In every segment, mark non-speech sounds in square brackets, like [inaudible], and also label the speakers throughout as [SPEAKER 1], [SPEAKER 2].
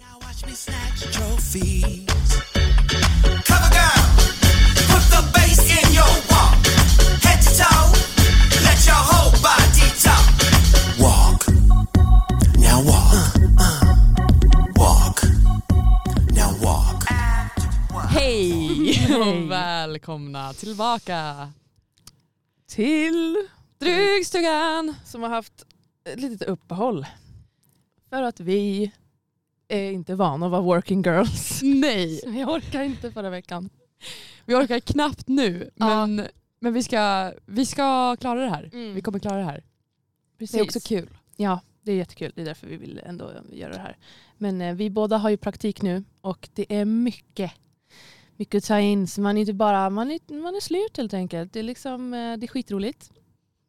[SPEAKER 1] Watch me snatch trophies. Cover girl, put the bass in your walk. Head to toe, let your whole body talk. Walk, now walk. Walk, now walk.
[SPEAKER 2] Hej och välkomna tillbaka
[SPEAKER 3] till
[SPEAKER 2] Drygstugan!
[SPEAKER 3] som har haft ett litet uppehåll. För att vi är inte vana att vara working girls.
[SPEAKER 2] Nej,
[SPEAKER 3] [laughs] Vi orkar inte förra veckan.
[SPEAKER 2] vi orkar knappt nu
[SPEAKER 3] Ja.
[SPEAKER 2] men, men vi, ska, vi ska klara det här.
[SPEAKER 3] Mm.
[SPEAKER 2] Vi kommer klara det här.
[SPEAKER 3] Precis.
[SPEAKER 2] Det är också kul.
[SPEAKER 3] Ja, det är jättekul. Det är därför vi vill ändå göra det här. Men eh, vi båda har ju praktik nu och det är mycket. Mycket att ta in. Så man är inte bara, man är, man är slut helt enkelt. Det är liksom, eh, det är skitroligt.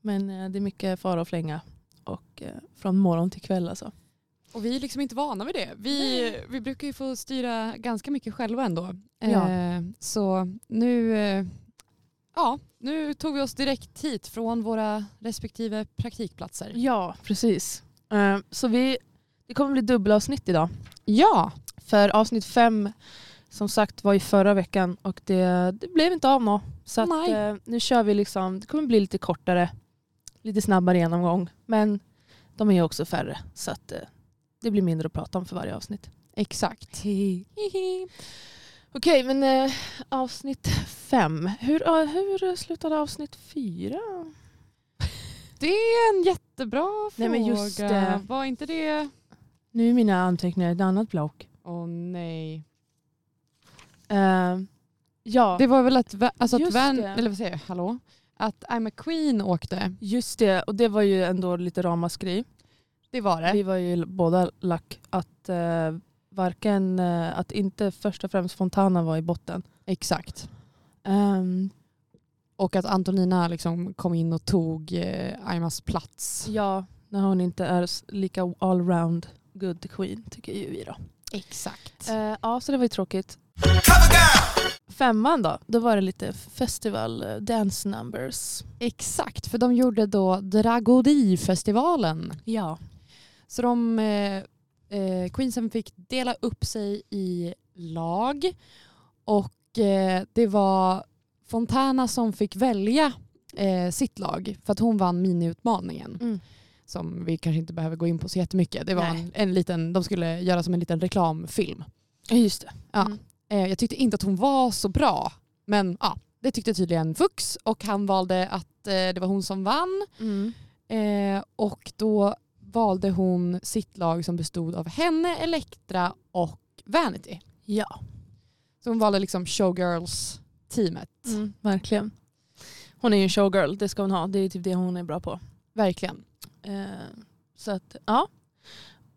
[SPEAKER 3] Men eh, det är mycket fara och flänga. Och eh, från morgon till kväll alltså.
[SPEAKER 2] Och vi är liksom inte vana vid det. Vi, vi brukar ju få styra ganska mycket själva ändå.
[SPEAKER 3] Ja.
[SPEAKER 2] Eh, så nu, eh, ja, nu tog vi oss direkt hit från våra respektive praktikplatser.
[SPEAKER 3] Ja, precis. Eh, Så vi, det kommer bli dubbelavsnitt idag.
[SPEAKER 2] Ja,
[SPEAKER 3] För avsnitt fem som sagt var i förra veckan och det, det blev inte av nå. Så att,
[SPEAKER 2] Nej.
[SPEAKER 3] eh, nu kör vi liksom, det kommer bli lite kortare, lite snabbare genomgång. Men de är ju också färre så att eh, det blir mindre att prata om för varje avsnitt.
[SPEAKER 2] exakt. Hihi.
[SPEAKER 3] Okej, men eh, avsnitt fem. Hur, ja, hur slutade avsnitt fyra?
[SPEAKER 2] Det är en jättebra
[SPEAKER 3] Nej,
[SPEAKER 2] fråga.
[SPEAKER 3] men just det.
[SPEAKER 2] Var inte det...
[SPEAKER 3] Nu är mina anteckningar i ett annat block.
[SPEAKER 2] Åh nej.
[SPEAKER 3] Eh, ja,
[SPEAKER 2] Det var väl att, vä- alltså att
[SPEAKER 3] Just
[SPEAKER 2] Van,
[SPEAKER 3] det.
[SPEAKER 2] eller vad säger jag, hallå? Att I'm a Queen åkte.
[SPEAKER 3] just det. Och det var ju ändå lite ramaskri.
[SPEAKER 2] Det var det.
[SPEAKER 3] Vi var ju båda lack att eh, varken eh, att inte först och främst Fontana var i botten.
[SPEAKER 2] Exakt.
[SPEAKER 3] Ehm,
[SPEAKER 2] Och att Antonina liksom kom in och tog eh, Aimas plats.
[SPEAKER 3] ja, när hon inte är s- lika allround good queen tycker ju vi då.
[SPEAKER 2] Exakt.
[SPEAKER 3] Eh, ja, så det var ju tråkigt.
[SPEAKER 1] Cover girl,
[SPEAKER 3] Femman då, då var det lite festival eh, dance numbers.
[SPEAKER 2] Exakt, för de gjorde då Dragodifestivalen.
[SPEAKER 3] Ja.
[SPEAKER 2] Så de, eh, eh, Queensen fick dela upp sig i lag och eh, det var Fontana som fick välja eh, sitt lag för att hon vann miniutmaningen
[SPEAKER 3] Mm.
[SPEAKER 2] som vi kanske inte behöver gå in på så jättemycket. Det var
[SPEAKER 3] Nej.
[SPEAKER 2] en, en liten, de skulle göra som en liten reklamfilm.
[SPEAKER 3] Ja, Just det.
[SPEAKER 2] Ja.
[SPEAKER 3] Mm.
[SPEAKER 2] Eh, jag tyckte inte att hon var så bra men ja, det tyckte tydligen Fux och han valde att eh, det var hon som vann
[SPEAKER 3] Mm.
[SPEAKER 2] Eh, och då valde hon sitt lag som bestod av henne, Elektra och Vanity.
[SPEAKER 3] Ja,
[SPEAKER 2] Så hon valde liksom showgirls-teamet.
[SPEAKER 3] mm, verkligen. Hon är ju en showgirl, det ska hon ha. Det är typ det hon är bra på.
[SPEAKER 2] Verkligen.
[SPEAKER 3] Eh, så att, ja.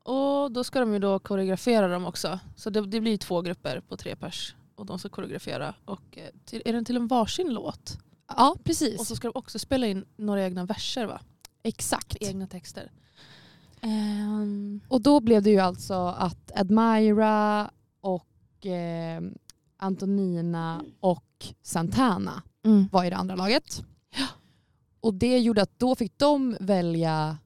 [SPEAKER 3] Och då ska de ju då koreografera dem också. Så det, det blir ju två grupper på tre pers. Och de ska koreografera. Och eh, till, är den till en varsin låt?
[SPEAKER 2] Ja, precis.
[SPEAKER 3] Och så ska de också spela in några egna verser va?
[SPEAKER 2] Exakt.
[SPEAKER 3] Egna texter. Ehm,
[SPEAKER 2] Och då blev det ju alltså att Admira och eh, Antonina och Santana
[SPEAKER 3] mm.
[SPEAKER 2] var i det andra laget. Och det gjorde att då fick de välja,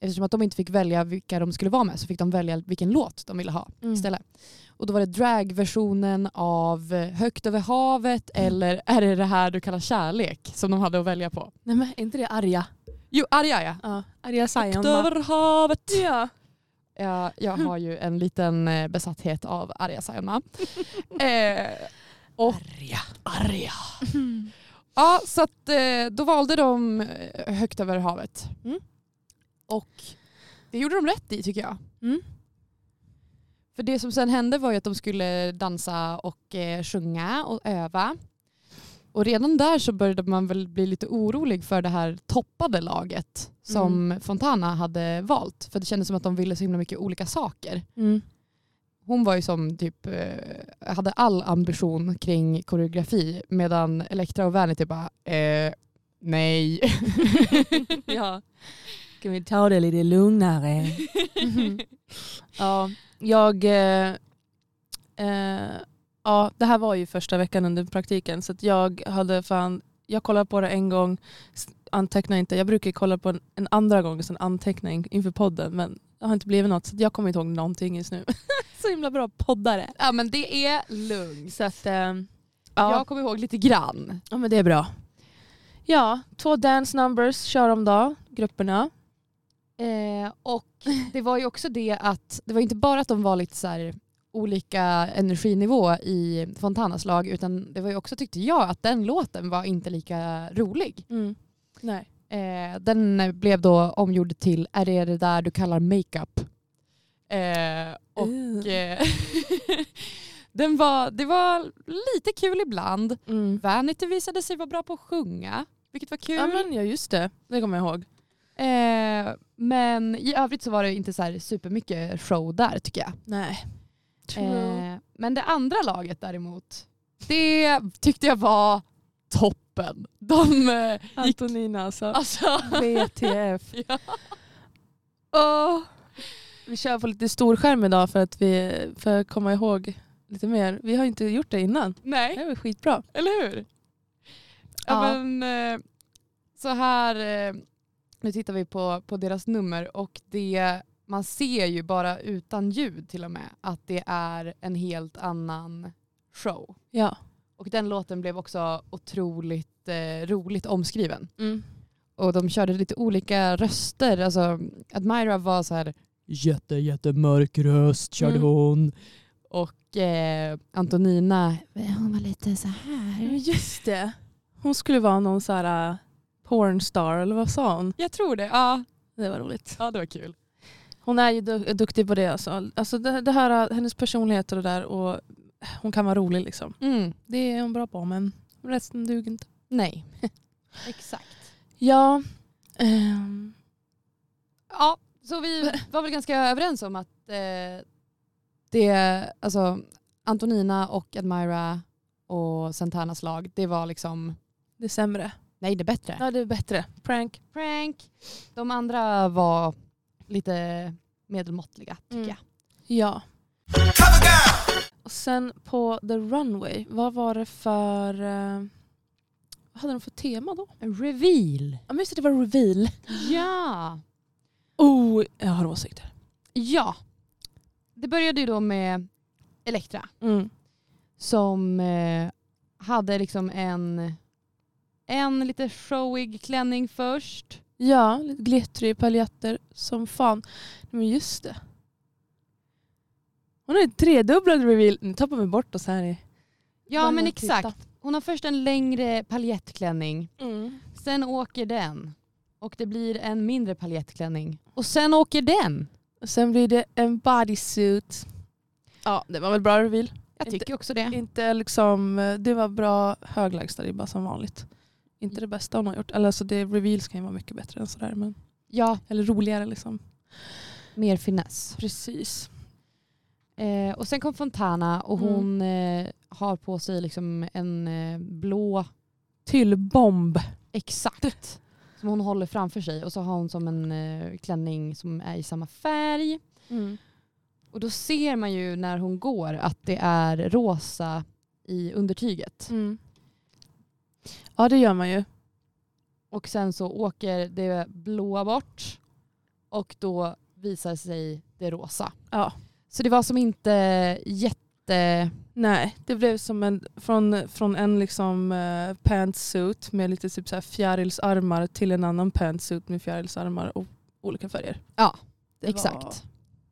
[SPEAKER 2] eftersom att de inte fick välja vilka de skulle vara med så fick de välja vilken låt de ville ha.
[SPEAKER 3] Ställa-
[SPEAKER 2] istället. Och då var det dragversionen av Högt över havet eller Är det det här du kallar kärlek som de hade att välja på.
[SPEAKER 3] Nej men är inte det arga?
[SPEAKER 2] Jo, ah, arga ja.
[SPEAKER 3] Ja, arga Zion
[SPEAKER 2] Högt
[SPEAKER 3] va?
[SPEAKER 2] över havet.
[SPEAKER 3] Ja.
[SPEAKER 2] Ja, jag har ju en liten eh, besatthet av arga Sayonma. eh, och, arga. Arga.
[SPEAKER 3] Mm.
[SPEAKER 2] Ja, så att, eh, då valde de eh, Högt över havet.
[SPEAKER 3] Mm.
[SPEAKER 2] Och det gjorde de rätt i tycker jag.
[SPEAKER 3] Mm.
[SPEAKER 2] För det som sen hände var ju att de skulle dansa och eh, sjunga och öva. Och redan där så började man väl bli lite orolig för det här toppade laget som
[SPEAKER 3] Mm.
[SPEAKER 2] Fontana hade valt. För det kändes som att de ville så himla mycket olika saker.
[SPEAKER 3] Mm.
[SPEAKER 2] Hon var ju som typ, eh, hade all ambition kring koreografi medan Elektra och Vanity bara, eh, [laughs] nej.
[SPEAKER 3] ja. Kan vi ta det lite lugnare? ja, jag... Eh, eh, ja, det här var ju första veckan under praktiken så att jag hade fan... Jag kollade på det en gång, s- antecknade inte. Jag brukar kolla på en, en andra gång och sen anteckna in, inför podden men det har inte blivit något så att jag kommer inte ihåg någonting just nu. [laughs] Så himla bra poddare.
[SPEAKER 2] Ja men det är lugnt.
[SPEAKER 3] Så att, ehm, ja.
[SPEAKER 2] Jag kommer ihåg lite grann.
[SPEAKER 3] ja, men det är bra. Ja, två dance numbers kör om dag, grupperna.
[SPEAKER 2] Eh, och det var ju också det att, det var inte bara att de var lite så här olika energinivå i Fontanas lag utan det var ju också tyckte jag att den låten var inte lika rolig.
[SPEAKER 3] Nej.
[SPEAKER 2] Eh, den blev då omgjord till Är det det där du kallar makeup? Eh, och eh, [laughs] den var, det var lite kul ibland.
[SPEAKER 3] Mm.
[SPEAKER 2] Vanity visade sig vara bra på att sjunga, vilket var kul.
[SPEAKER 3] Ja, men, ja, just det. Det kommer jag ihåg.
[SPEAKER 2] Eh, men i övrigt så var det inte så här supermycket show där tycker jag.
[SPEAKER 3] Nej.
[SPEAKER 2] Eh, men det andra laget däremot, det tyckte jag var toppen. De eh, gick...
[SPEAKER 3] Antonina alltså.
[SPEAKER 2] Alltså, [laughs]
[SPEAKER 3] BTF.
[SPEAKER 2] ja.
[SPEAKER 3] Åh. Vi kör på lite storskärm idag för att, vi, för att komma ihåg lite mer. Vi har inte gjort det innan.
[SPEAKER 2] Nej.
[SPEAKER 3] Det här var skitbra.
[SPEAKER 2] Eller hur? Ja,
[SPEAKER 3] Ja.
[SPEAKER 2] men, eh, så här, eh, nu tittar vi på, på deras nummer och det, man ser ju bara utan ljud till och med att det är en helt annan show.
[SPEAKER 3] Ja.
[SPEAKER 2] Och den låten blev också otroligt eh, roligt omskriven. Och de körde lite olika röster. Alltså, Admira var så här jätte, jättemörk röst körde
[SPEAKER 3] Mm.
[SPEAKER 2] hon. Och eh, Antonina, hon var lite så här.
[SPEAKER 3] Just det. Hon skulle vara någon så här äh, pornstar eller vad sa hon?
[SPEAKER 2] Jag tror det. Ja,
[SPEAKER 3] Det var roligt.
[SPEAKER 2] ja det var kul.
[SPEAKER 3] Hon är ju du- duktig på det alltså. alltså det, det här, äh, hennes personlighet och det där och äh, hon kan vara rolig liksom. Det är hon bra på men resten duger inte.
[SPEAKER 2] Mm, Nej. [laughs] Exakt.
[SPEAKER 3] Ja. ehm,
[SPEAKER 2] Ja, så vi var väl ganska överens om att eh, det, alltså Antonina och Admira och Santanas lag, det var liksom,
[SPEAKER 3] det är sämre.
[SPEAKER 2] nej det är bättre.
[SPEAKER 3] Ja det är bättre. Prank.
[SPEAKER 2] Prank. De andra var lite medelmåttliga tycker
[SPEAKER 3] Mm.
[SPEAKER 2] jag.
[SPEAKER 3] Ja.
[SPEAKER 1] Cover girl.
[SPEAKER 3] Och sen på The Runway, vad var det för... eh, vad hade de för tema då?
[SPEAKER 2] Reveal.
[SPEAKER 3] Ja men just det, det var reveal.
[SPEAKER 2] Ja.
[SPEAKER 3] Oh, jag har åsikter.
[SPEAKER 2] Ja. Det började ju då med Elektra.
[SPEAKER 3] Mm.
[SPEAKER 2] som eh, hade liksom en, en lite showig klänning först.
[SPEAKER 3] Ja, lite glittrig paljetter som fan. Men just det. Hon har en tredubblad reveal. Nu tappar vi bort oss här i...
[SPEAKER 2] Ja
[SPEAKER 3] Bara
[SPEAKER 2] men
[SPEAKER 3] att titta. Mm.
[SPEAKER 2] exakt. Hon har först en längre paljettklänning, sen åker den och det blir en mindre paljettklänning och sen åker den.
[SPEAKER 3] Och sen blir det en bodysuit. Ja, det var väl bra reveal.
[SPEAKER 2] Jag
[SPEAKER 3] Inte-
[SPEAKER 2] tycker också det.
[SPEAKER 3] Inte liksom, det var bra hög lägsta ribba som vanligt. Inte det bästa hon har gjort. Eller alltså det, reveals kan ju vara mycket bättre än sådär. Men,
[SPEAKER 2] Ja,
[SPEAKER 3] eller roligare liksom.
[SPEAKER 2] mer finess.
[SPEAKER 3] Precis.
[SPEAKER 2] Eh, och sen kom Fontana och
[SPEAKER 3] Mm.
[SPEAKER 2] hon eh, har på sig liksom en eh, blå
[SPEAKER 3] Tyllbomb.
[SPEAKER 2] Exakt. Som hon håller framför sig och så har hon som en eh, klänning som är i samma färg.
[SPEAKER 3] Mm.
[SPEAKER 2] Och då ser man ju när hon går att det är rosa i undertyget.
[SPEAKER 3] Mm. Ja det gör man ju.
[SPEAKER 2] Och sen så åker det blåa bort och då visar sig det rosa.
[SPEAKER 3] Ja.
[SPEAKER 2] Så det var som inte jätte...
[SPEAKER 3] Nej, det blev som en, från, från en liksom eh, pantsuit med lite typ så här fjärilsarmar till en annan pantsuit med fjärilsarmar och olika färger.
[SPEAKER 2] Ja,
[SPEAKER 3] det Var
[SPEAKER 2] Exakt.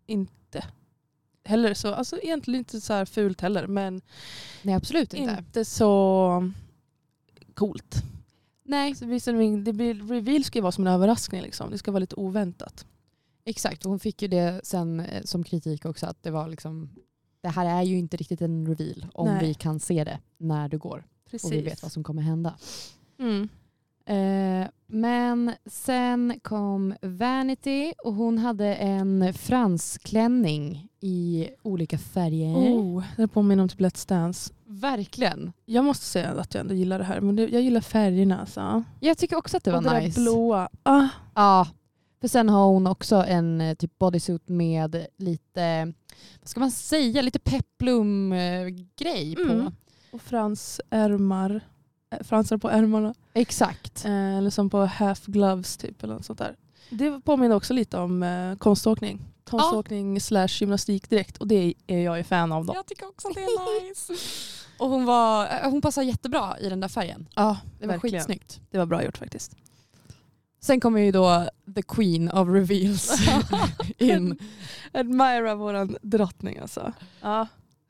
[SPEAKER 3] inte heller så, alltså egentligen inte så här fult heller men
[SPEAKER 2] Nej absolut inte.
[SPEAKER 3] inte, så coolt.
[SPEAKER 2] Nej
[SPEAKER 3] Så det blir som- Det blir, reveal ska ju vara som en överraskning liksom, det ska vara lite oväntat.
[SPEAKER 2] exakt. Och hon fick ju det sen eh, som kritik också att det var liksom det här är ju inte riktigt en reveal om
[SPEAKER 3] Nej.
[SPEAKER 2] vi kan se det när du går och vi vet vad som kommer hända.
[SPEAKER 3] Mm.
[SPEAKER 2] Eh, men sen kom Vanity och hon hade en fransklänning i olika färger.
[SPEAKER 3] Oh, det påminner om typ Let's Dance.
[SPEAKER 2] Verkligen.
[SPEAKER 3] Jag måste säga att jag ändå gillar det här, men det, jag gillar färgerna alltså.
[SPEAKER 2] Jag tycker också att det
[SPEAKER 3] och
[SPEAKER 2] var
[SPEAKER 3] det
[SPEAKER 2] nice.
[SPEAKER 3] där blåa. Ah,
[SPEAKER 2] Ja. För sen har hon också en eh, typ bodysuit med lite, vad ska man säga, lite peplum-grej på.
[SPEAKER 3] Mm. och fransärmar. Eh, Fransar på ärmarna.
[SPEAKER 2] Exakt.
[SPEAKER 3] Eh, eller som på half gloves typ eller något sånt där. Det påminner också lite om eh, konståkning.
[SPEAKER 2] Ah.
[SPEAKER 3] Konståkning slash gymnastik direkt och det är jag ju fan av. Dem.
[SPEAKER 2] Jag tycker också att det är
[SPEAKER 3] [laughs]
[SPEAKER 2] nice. Och hon, var, eh, hon passade jättebra i den där färgen.
[SPEAKER 3] Ja,
[SPEAKER 2] Det var
[SPEAKER 3] Verkligen.
[SPEAKER 2] skitsnyggt.
[SPEAKER 3] Ah, det var bra gjort faktiskt.
[SPEAKER 2] Sen kommer ju då the queen of reveals
[SPEAKER 3] [laughs]
[SPEAKER 2] in
[SPEAKER 3] Admira våran drottning alltså. Ja.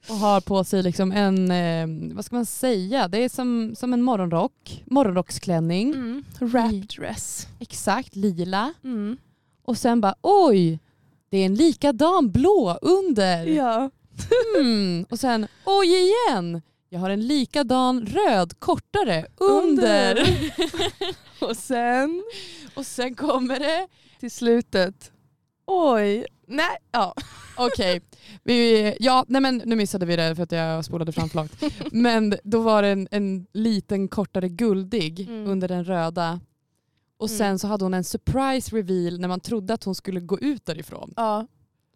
[SPEAKER 2] och har på sig liksom en, eh, vad ska man säga, det är som, som en morgonrock, morgonrocksklänning,
[SPEAKER 3] Mm. Wrap dress.
[SPEAKER 2] exakt lila
[SPEAKER 3] Mm.
[SPEAKER 2] och sen bara oj, det är en likadan blå under.
[SPEAKER 3] Ja.
[SPEAKER 2] Mm. Och sen oj igen, jag har en likadan röd kortare under.
[SPEAKER 3] [laughs] Och sen
[SPEAKER 2] Och sen kommer det
[SPEAKER 3] till slutet. Oj. Nej. Ja.
[SPEAKER 2] Okej, vi- ja, nej men nu missade vi det för att jag spolade fram för långt. Men då var det en, en liten kortare guldig
[SPEAKER 3] Mm.
[SPEAKER 2] under den röda. Och sen
[SPEAKER 3] Mm.
[SPEAKER 2] så hade hon en surprise reveal när man trodde att hon skulle gå ut därifrån.
[SPEAKER 3] ja.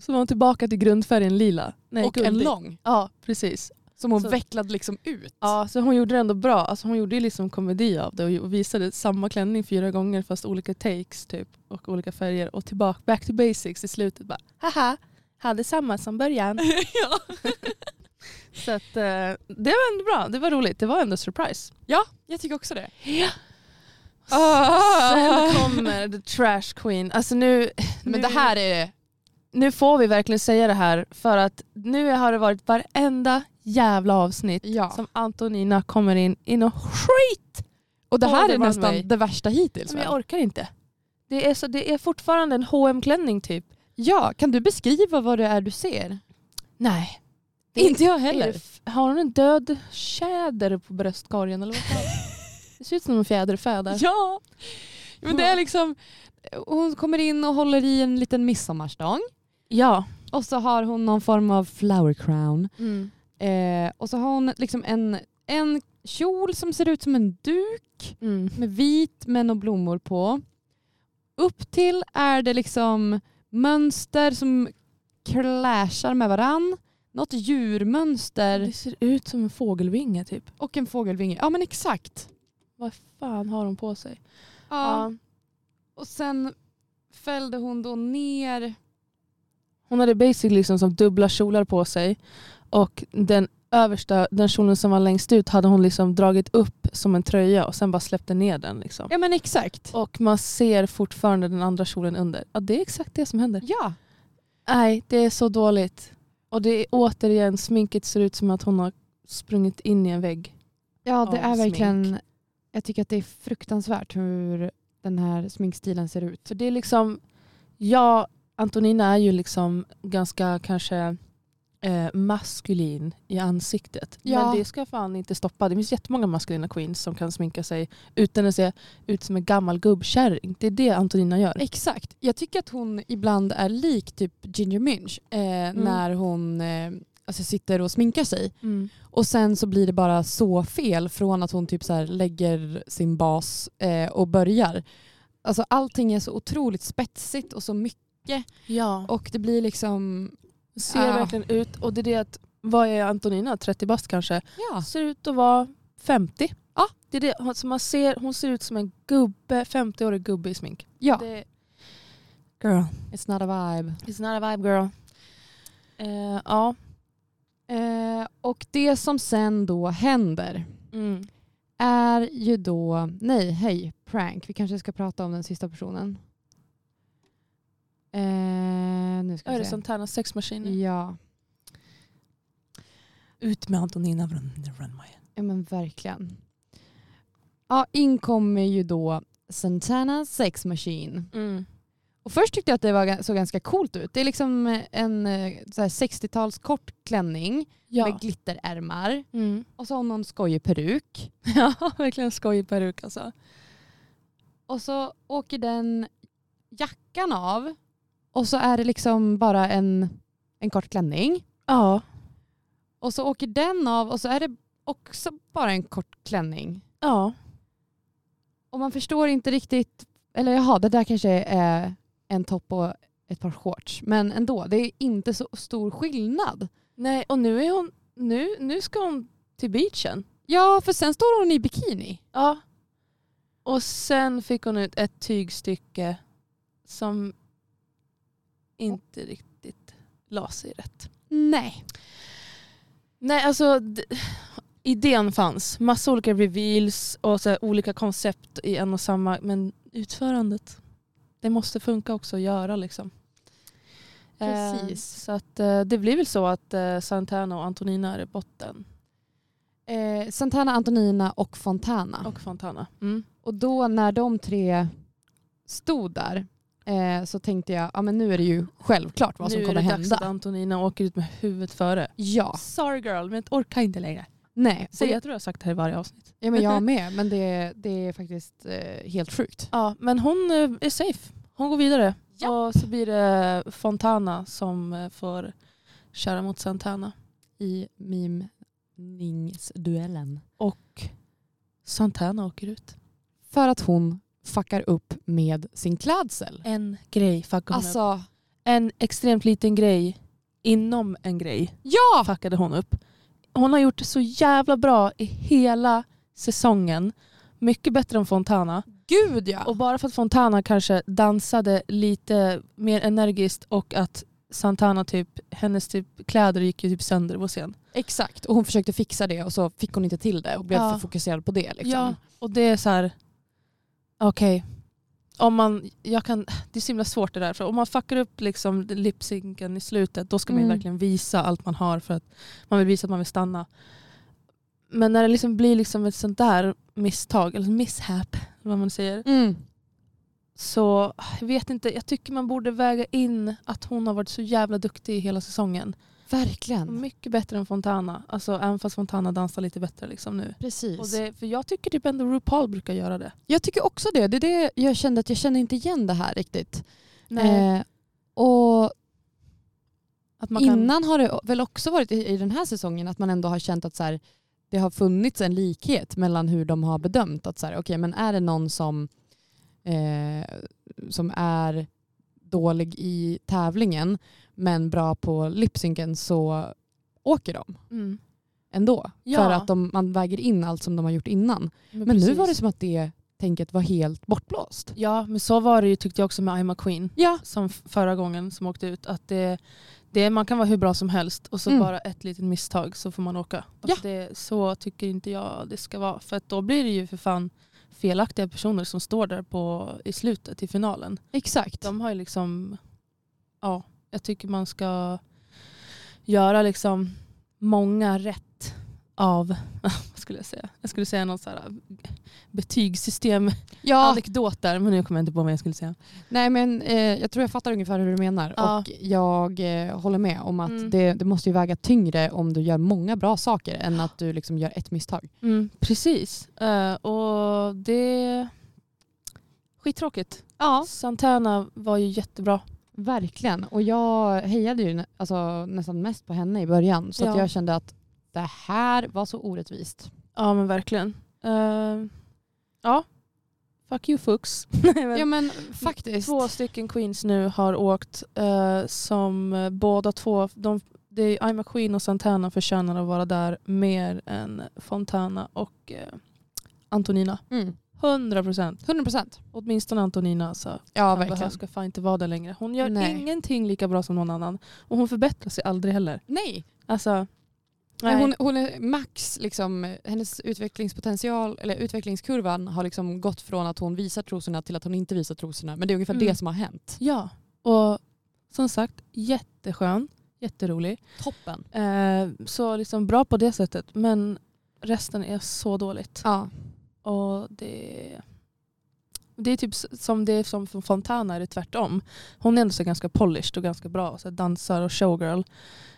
[SPEAKER 3] Så var hon tillbaka till grundfärgen lila. Nej,
[SPEAKER 2] och en
[SPEAKER 3] guldig.
[SPEAKER 2] lång
[SPEAKER 3] Ja, precis.
[SPEAKER 2] som hon
[SPEAKER 3] Så-
[SPEAKER 2] vecklade liksom ut.
[SPEAKER 3] Ja, så hon gjorde det ändå bra. Alltså hon gjorde ju liksom komedi av det och visade samma klänning fyra gånger fast olika takes typ och olika färger och tillbaka, back to basics i slutet bara haha, hade samma som [laughs] början.
[SPEAKER 2] [laughs] Ja.
[SPEAKER 3] så att eh, det var ändå bra, det var roligt, det var ändå surprise.
[SPEAKER 2] ja, jag tycker också det.
[SPEAKER 3] Ja. Sen
[SPEAKER 2] Ah.
[SPEAKER 3] kommer the trash queen, alltså nu,
[SPEAKER 2] Men
[SPEAKER 3] nu,
[SPEAKER 2] det här är
[SPEAKER 3] nu får vi verkligen säga det här för att nu har det varit varenda jävla avsnitt
[SPEAKER 2] ja.
[SPEAKER 3] som Antonina kommer in i något skit
[SPEAKER 2] Och det här
[SPEAKER 3] All
[SPEAKER 2] är
[SPEAKER 3] the
[SPEAKER 2] nästan
[SPEAKER 3] runway.
[SPEAKER 2] det värsta hittills.
[SPEAKER 3] Men
[SPEAKER 2] väl?
[SPEAKER 3] jag orkar inte. Det är, så, det är fortfarande en hm klänning typ.
[SPEAKER 2] Ja, kan du beskriva vad det är du ser?
[SPEAKER 3] Nej. Det-
[SPEAKER 2] Inte jag
[SPEAKER 3] Är det
[SPEAKER 2] heller.
[SPEAKER 3] f- har hon en död tjäder på bröstkorgen eller vad [laughs] fan? Det ser ut som en fjäder i fäder.
[SPEAKER 2] Ja. Men det är liksom, hon kommer in och håller i en liten midsommarstång.
[SPEAKER 3] Ja.
[SPEAKER 2] Och så har hon någon form av flower crown.
[SPEAKER 3] Mm.
[SPEAKER 2] Eh, och så har hon liksom en, en kjol som ser ut som en duk
[SPEAKER 3] Mm.
[SPEAKER 2] med vit med några blommor på. Upp till är det liksom mönster som clashar med varann. Något
[SPEAKER 3] Det
[SPEAKER 2] djurmönster
[SPEAKER 3] ser ut som en fågelvinge typ.
[SPEAKER 2] och en fågelvinge. Ja men exakt.
[SPEAKER 3] Vad fan har hon på sig?
[SPEAKER 2] Ja. Och sen fällde hon då ner
[SPEAKER 3] Hon hade basically liksom som dubbla kjolar på sig och den översta, den kjolen som var längst ut hade hon liksom dragit upp som en tröja och sen bara släppte ner den. Liksom.
[SPEAKER 2] Ja men exakt.
[SPEAKER 3] Och man ser fortfarande den andra kjolen under. Ja, det är exakt det som händer.
[SPEAKER 2] Ja.
[SPEAKER 3] Nej, det är så dåligt. Och det är återigen, sminket ser ut som att hon har sprungit in i en vägg.
[SPEAKER 2] ja, det
[SPEAKER 3] Av
[SPEAKER 2] är verkligen... Jag tycker att det är fruktansvärt hur den här sminkstilen ser ut.
[SPEAKER 3] För det är liksom, ja, Antonina är ju liksom ganska kanske eh, maskulin i ansiktet.
[SPEAKER 2] Ja.
[SPEAKER 3] Men det ska fan inte stoppa. Det finns jättemånga maskulina queens som kan sminka sig utan att se ut som en gammal gubbkärring. Det är det Antonina gör.
[SPEAKER 2] Exakt. Jag tycker att hon ibland är lik typ Ginger Minch eh, när hon eh, alltså sitter och sminkar sig.
[SPEAKER 3] Mm.
[SPEAKER 2] Och sen så blir det bara så fel från att hon typ så här lägger sin bas eh, och börjar. Alltså allting är så otroligt spetsigt och så mycket
[SPEAKER 3] Ja.
[SPEAKER 2] och det blir liksom...
[SPEAKER 3] ser
[SPEAKER 2] Ah.
[SPEAKER 3] verkligen ut, och det är det att, vad är Antonina, 30 bast kanske?
[SPEAKER 2] Ja.
[SPEAKER 3] Ser ut att vara 50.
[SPEAKER 2] Ja.
[SPEAKER 3] Det är det, hon- som man ser, hon ser ut som en gubbe, 50-årig gubbe i smink.
[SPEAKER 2] ja.
[SPEAKER 3] Det, girl.
[SPEAKER 2] It's not a vibe.
[SPEAKER 3] It's not a vibe girl. Eh, ja.
[SPEAKER 2] Eh, och det som sen då händer
[SPEAKER 3] Mm.
[SPEAKER 2] är ju då, nej hej, prank. Vi kanske ska prata om den sista personen. Eh, nu ska
[SPEAKER 3] Är
[SPEAKER 2] vi
[SPEAKER 3] det
[SPEAKER 2] se.
[SPEAKER 3] sånt här sexmaskiner?
[SPEAKER 2] Ja,
[SPEAKER 3] Mm. Ut med Antonina från Runway.
[SPEAKER 2] ja, men verkligen. Ja, in kommer ju då Santana Sex Machine.
[SPEAKER 3] Mm.
[SPEAKER 2] Och först tyckte jag att det var, ga- såg ganska coolt ut. Det är liksom eh, en eh, så här 60-tals kort klänning
[SPEAKER 3] Ja.
[SPEAKER 2] med glitterärmar.
[SPEAKER 3] Mm. [laughs]
[SPEAKER 2] Och så har hon någon skojig peruk.
[SPEAKER 3] ja, verkligen skojig peruk alltså.
[SPEAKER 2] Och så åker den jackan av och så är det liksom bara en, en kort klänning.
[SPEAKER 3] Ja.
[SPEAKER 2] Och så åker den av och så är det också bara en kort klänning.
[SPEAKER 3] Ja.
[SPEAKER 2] Och man förstår inte riktigt, eller jaha, det där kanske är en topp och ett par shorts. Men ändå, det är inte så stor skillnad.
[SPEAKER 3] Nej, och nu är hon, nu, nu ska hon till beachen.
[SPEAKER 2] Ja, för sen står hon i bikini.
[SPEAKER 3] Ja. Och sen fick hon ut ett tygstycke som inte riktigt... la sig rätt.
[SPEAKER 2] Nej.
[SPEAKER 3] Nej, alltså d- idén fanns. Massa olika reveals och så här, olika koncept i en och samma. Men utförandet, det måste funka också att göra liksom. Eh,
[SPEAKER 2] Precis.
[SPEAKER 3] så att, eh, det blir väl så att eh, Santana och Antonina är i botten.
[SPEAKER 2] Eh, Santana, Antonina och Fontana.
[SPEAKER 3] Och Fontana. Mm.
[SPEAKER 2] Och då när de tre stod där eh, så tänkte jag, ja men nu är det ju självklart vad som
[SPEAKER 3] nu
[SPEAKER 2] kommer
[SPEAKER 3] är det dags
[SPEAKER 2] hända. Ah.
[SPEAKER 3] att Antonina åker ut med huvudet före.
[SPEAKER 2] Ja,
[SPEAKER 3] Sorry girl, men jag orkar inte längre. [laughs]
[SPEAKER 2] nej.
[SPEAKER 3] Så jag tror jag har sagt det här i varje avsnitt.
[SPEAKER 2] Ja, men jag med, men det, det är faktiskt eh, helt sjukt.
[SPEAKER 3] Ja, men hon eh, är safe. Hon går vidare.
[SPEAKER 2] Ja.
[SPEAKER 3] Och så blir det Fontana som eh, får köra mot Santana.
[SPEAKER 2] I mimningsduellen.
[SPEAKER 3] Och Santana åker ut.
[SPEAKER 2] För att hon fuckar upp med sin klädsel.
[SPEAKER 3] En grej fuckade hon upp.
[SPEAKER 2] Alltså,
[SPEAKER 3] En extremt liten grej inom en grej
[SPEAKER 2] ja!
[SPEAKER 3] fuckade hon upp. Hon har gjort det så jävla bra i hela säsongen. Mycket bättre än Fontana.
[SPEAKER 2] Gud ja!
[SPEAKER 3] Och bara för att Fontana kanske dansade lite mer energiskt och att Santana typ, hennes typ kläder gick ju typ sönder på scen.
[SPEAKER 2] Exakt, och hon försökte fixa det och så fick hon inte till det och blev
[SPEAKER 3] Ja.
[SPEAKER 2] för fokuserad på det. Liksom.
[SPEAKER 3] Ja, och det är så här, okej. Om man, jag kan, det är så himla svårt det där. För om man fuckar upp liksom lipsynken i slutet då ska man ju
[SPEAKER 2] Mm.
[SPEAKER 3] verkligen visa allt man har för att man vill visa att man vill stanna. Men när det liksom blir liksom ett sånt där misstag, eller mishap, vad man säger.
[SPEAKER 2] Mm.
[SPEAKER 3] Så jag vet inte, jag tycker man borde väga in att hon har varit så jävla duktig i hela säsongen.
[SPEAKER 2] Verkligen.
[SPEAKER 3] Mycket bättre än Fontana. Alltså även fast Fontana dansar lite bättre liksom nu.
[SPEAKER 2] Precis.
[SPEAKER 3] Och det, för jag tycker typ ändå RuPaul brukar göra det.
[SPEAKER 2] Jag tycker också det. Det är det jag kände att jag känner inte igen det här riktigt.
[SPEAKER 3] Eh,
[SPEAKER 2] Eh, och
[SPEAKER 3] att man kan,
[SPEAKER 2] innan har det väl också varit i, i den här säsongen att man ändå har känt att så här, det har funnits en likhet mellan hur de har bedömt att så här, okej, men är det någon som, eh, som är dålig i tävlingen men bra på lipsynken så åker de
[SPEAKER 3] mm,
[SPEAKER 2] ändå.
[SPEAKER 3] Ja.
[SPEAKER 2] För att de, man väger in allt som de har gjort innan. Men nu
[SPEAKER 3] precis.
[SPEAKER 2] var det som att det tänket var helt bortblåst.
[SPEAKER 3] Ja, men så var det ju tyckte jag också med I'm a Queen.
[SPEAKER 2] Ja,
[SPEAKER 3] Som f- förra gången som åkte ut. Att det, det, man kan vara hur bra som helst och så
[SPEAKER 2] Mm.
[SPEAKER 3] bara ett litet misstag så får man åka.
[SPEAKER 2] Ja.
[SPEAKER 3] Att det, så tycker inte jag det ska vara. För att då blir det ju för fan felaktiga personer som står där på, i slutet i finalen.
[SPEAKER 2] exakt.
[SPEAKER 3] De har ju liksom, ja, jag tycker man ska göra liksom många rätt av, [laughs] vad skulle jag säga? Jag skulle säga någon så här betygssystem
[SPEAKER 2] Ja,
[SPEAKER 3] anekdoter, men nu kommer jag inte på vad jag skulle säga.
[SPEAKER 2] nej men eh, jag tror jag fattar ungefär hur du menar.
[SPEAKER 3] Ja.
[SPEAKER 2] Och jag eh, håller med om att
[SPEAKER 3] Mm.
[SPEAKER 2] det, det måste ju väga tyngre om du gör många bra saker än att du liksom gör ett misstag.
[SPEAKER 3] Mm, precis. Eh, och det... Skittråkigt.
[SPEAKER 2] Ja,
[SPEAKER 3] Santana var ju jättebra.
[SPEAKER 2] verkligen. Och jag hejade ju nä- alltså, nästan mest på henne i början så att
[SPEAKER 3] Ja.
[SPEAKER 2] jag kände att det här var så orättvist.
[SPEAKER 3] Ja men verkligen. Eh, ja. Fuck you Fux. [laughs] Nej, men
[SPEAKER 2] Ja men faktiskt.
[SPEAKER 3] Två stycken queens nu har åkt eh, som eh, båda två, de, det är I'm a Queen och Santana förtjänar att vara där mer än Fontana och eh, Antonina.
[SPEAKER 2] Mm.
[SPEAKER 3] 100 procent.
[SPEAKER 2] 100 procent.
[SPEAKER 3] Åtminstone Antonina alltså.
[SPEAKER 2] Ja
[SPEAKER 3] Hon
[SPEAKER 2] verkligen.
[SPEAKER 3] behövs, ska fan inte vara där längre. Hon gör
[SPEAKER 2] Nej.
[SPEAKER 3] ingenting lika bra som någon annan. Och hon förbättrar sig aldrig heller.
[SPEAKER 2] Nej,
[SPEAKER 3] Alltså,
[SPEAKER 2] Nej. Hon, hon är max, liksom, hennes utvecklingspotential eller utvecklingskurvan har liksom gått från att hon visar trosorna till att hon inte visar trosorna. Men det är ungefär
[SPEAKER 3] Mm.
[SPEAKER 2] det som har hänt.
[SPEAKER 3] Ja, och som sagt jätteskön, jätterolig.
[SPEAKER 2] Toppen.
[SPEAKER 3] Eh, så liksom bra på det sättet. Men resten är så dåligt.
[SPEAKER 2] Ja,
[SPEAKER 3] Och det, det är typ s- som det är som för Fontana är det tvärtom. Hon är ändå så ganska polished och ganska bra. Så här dansar och showgirl.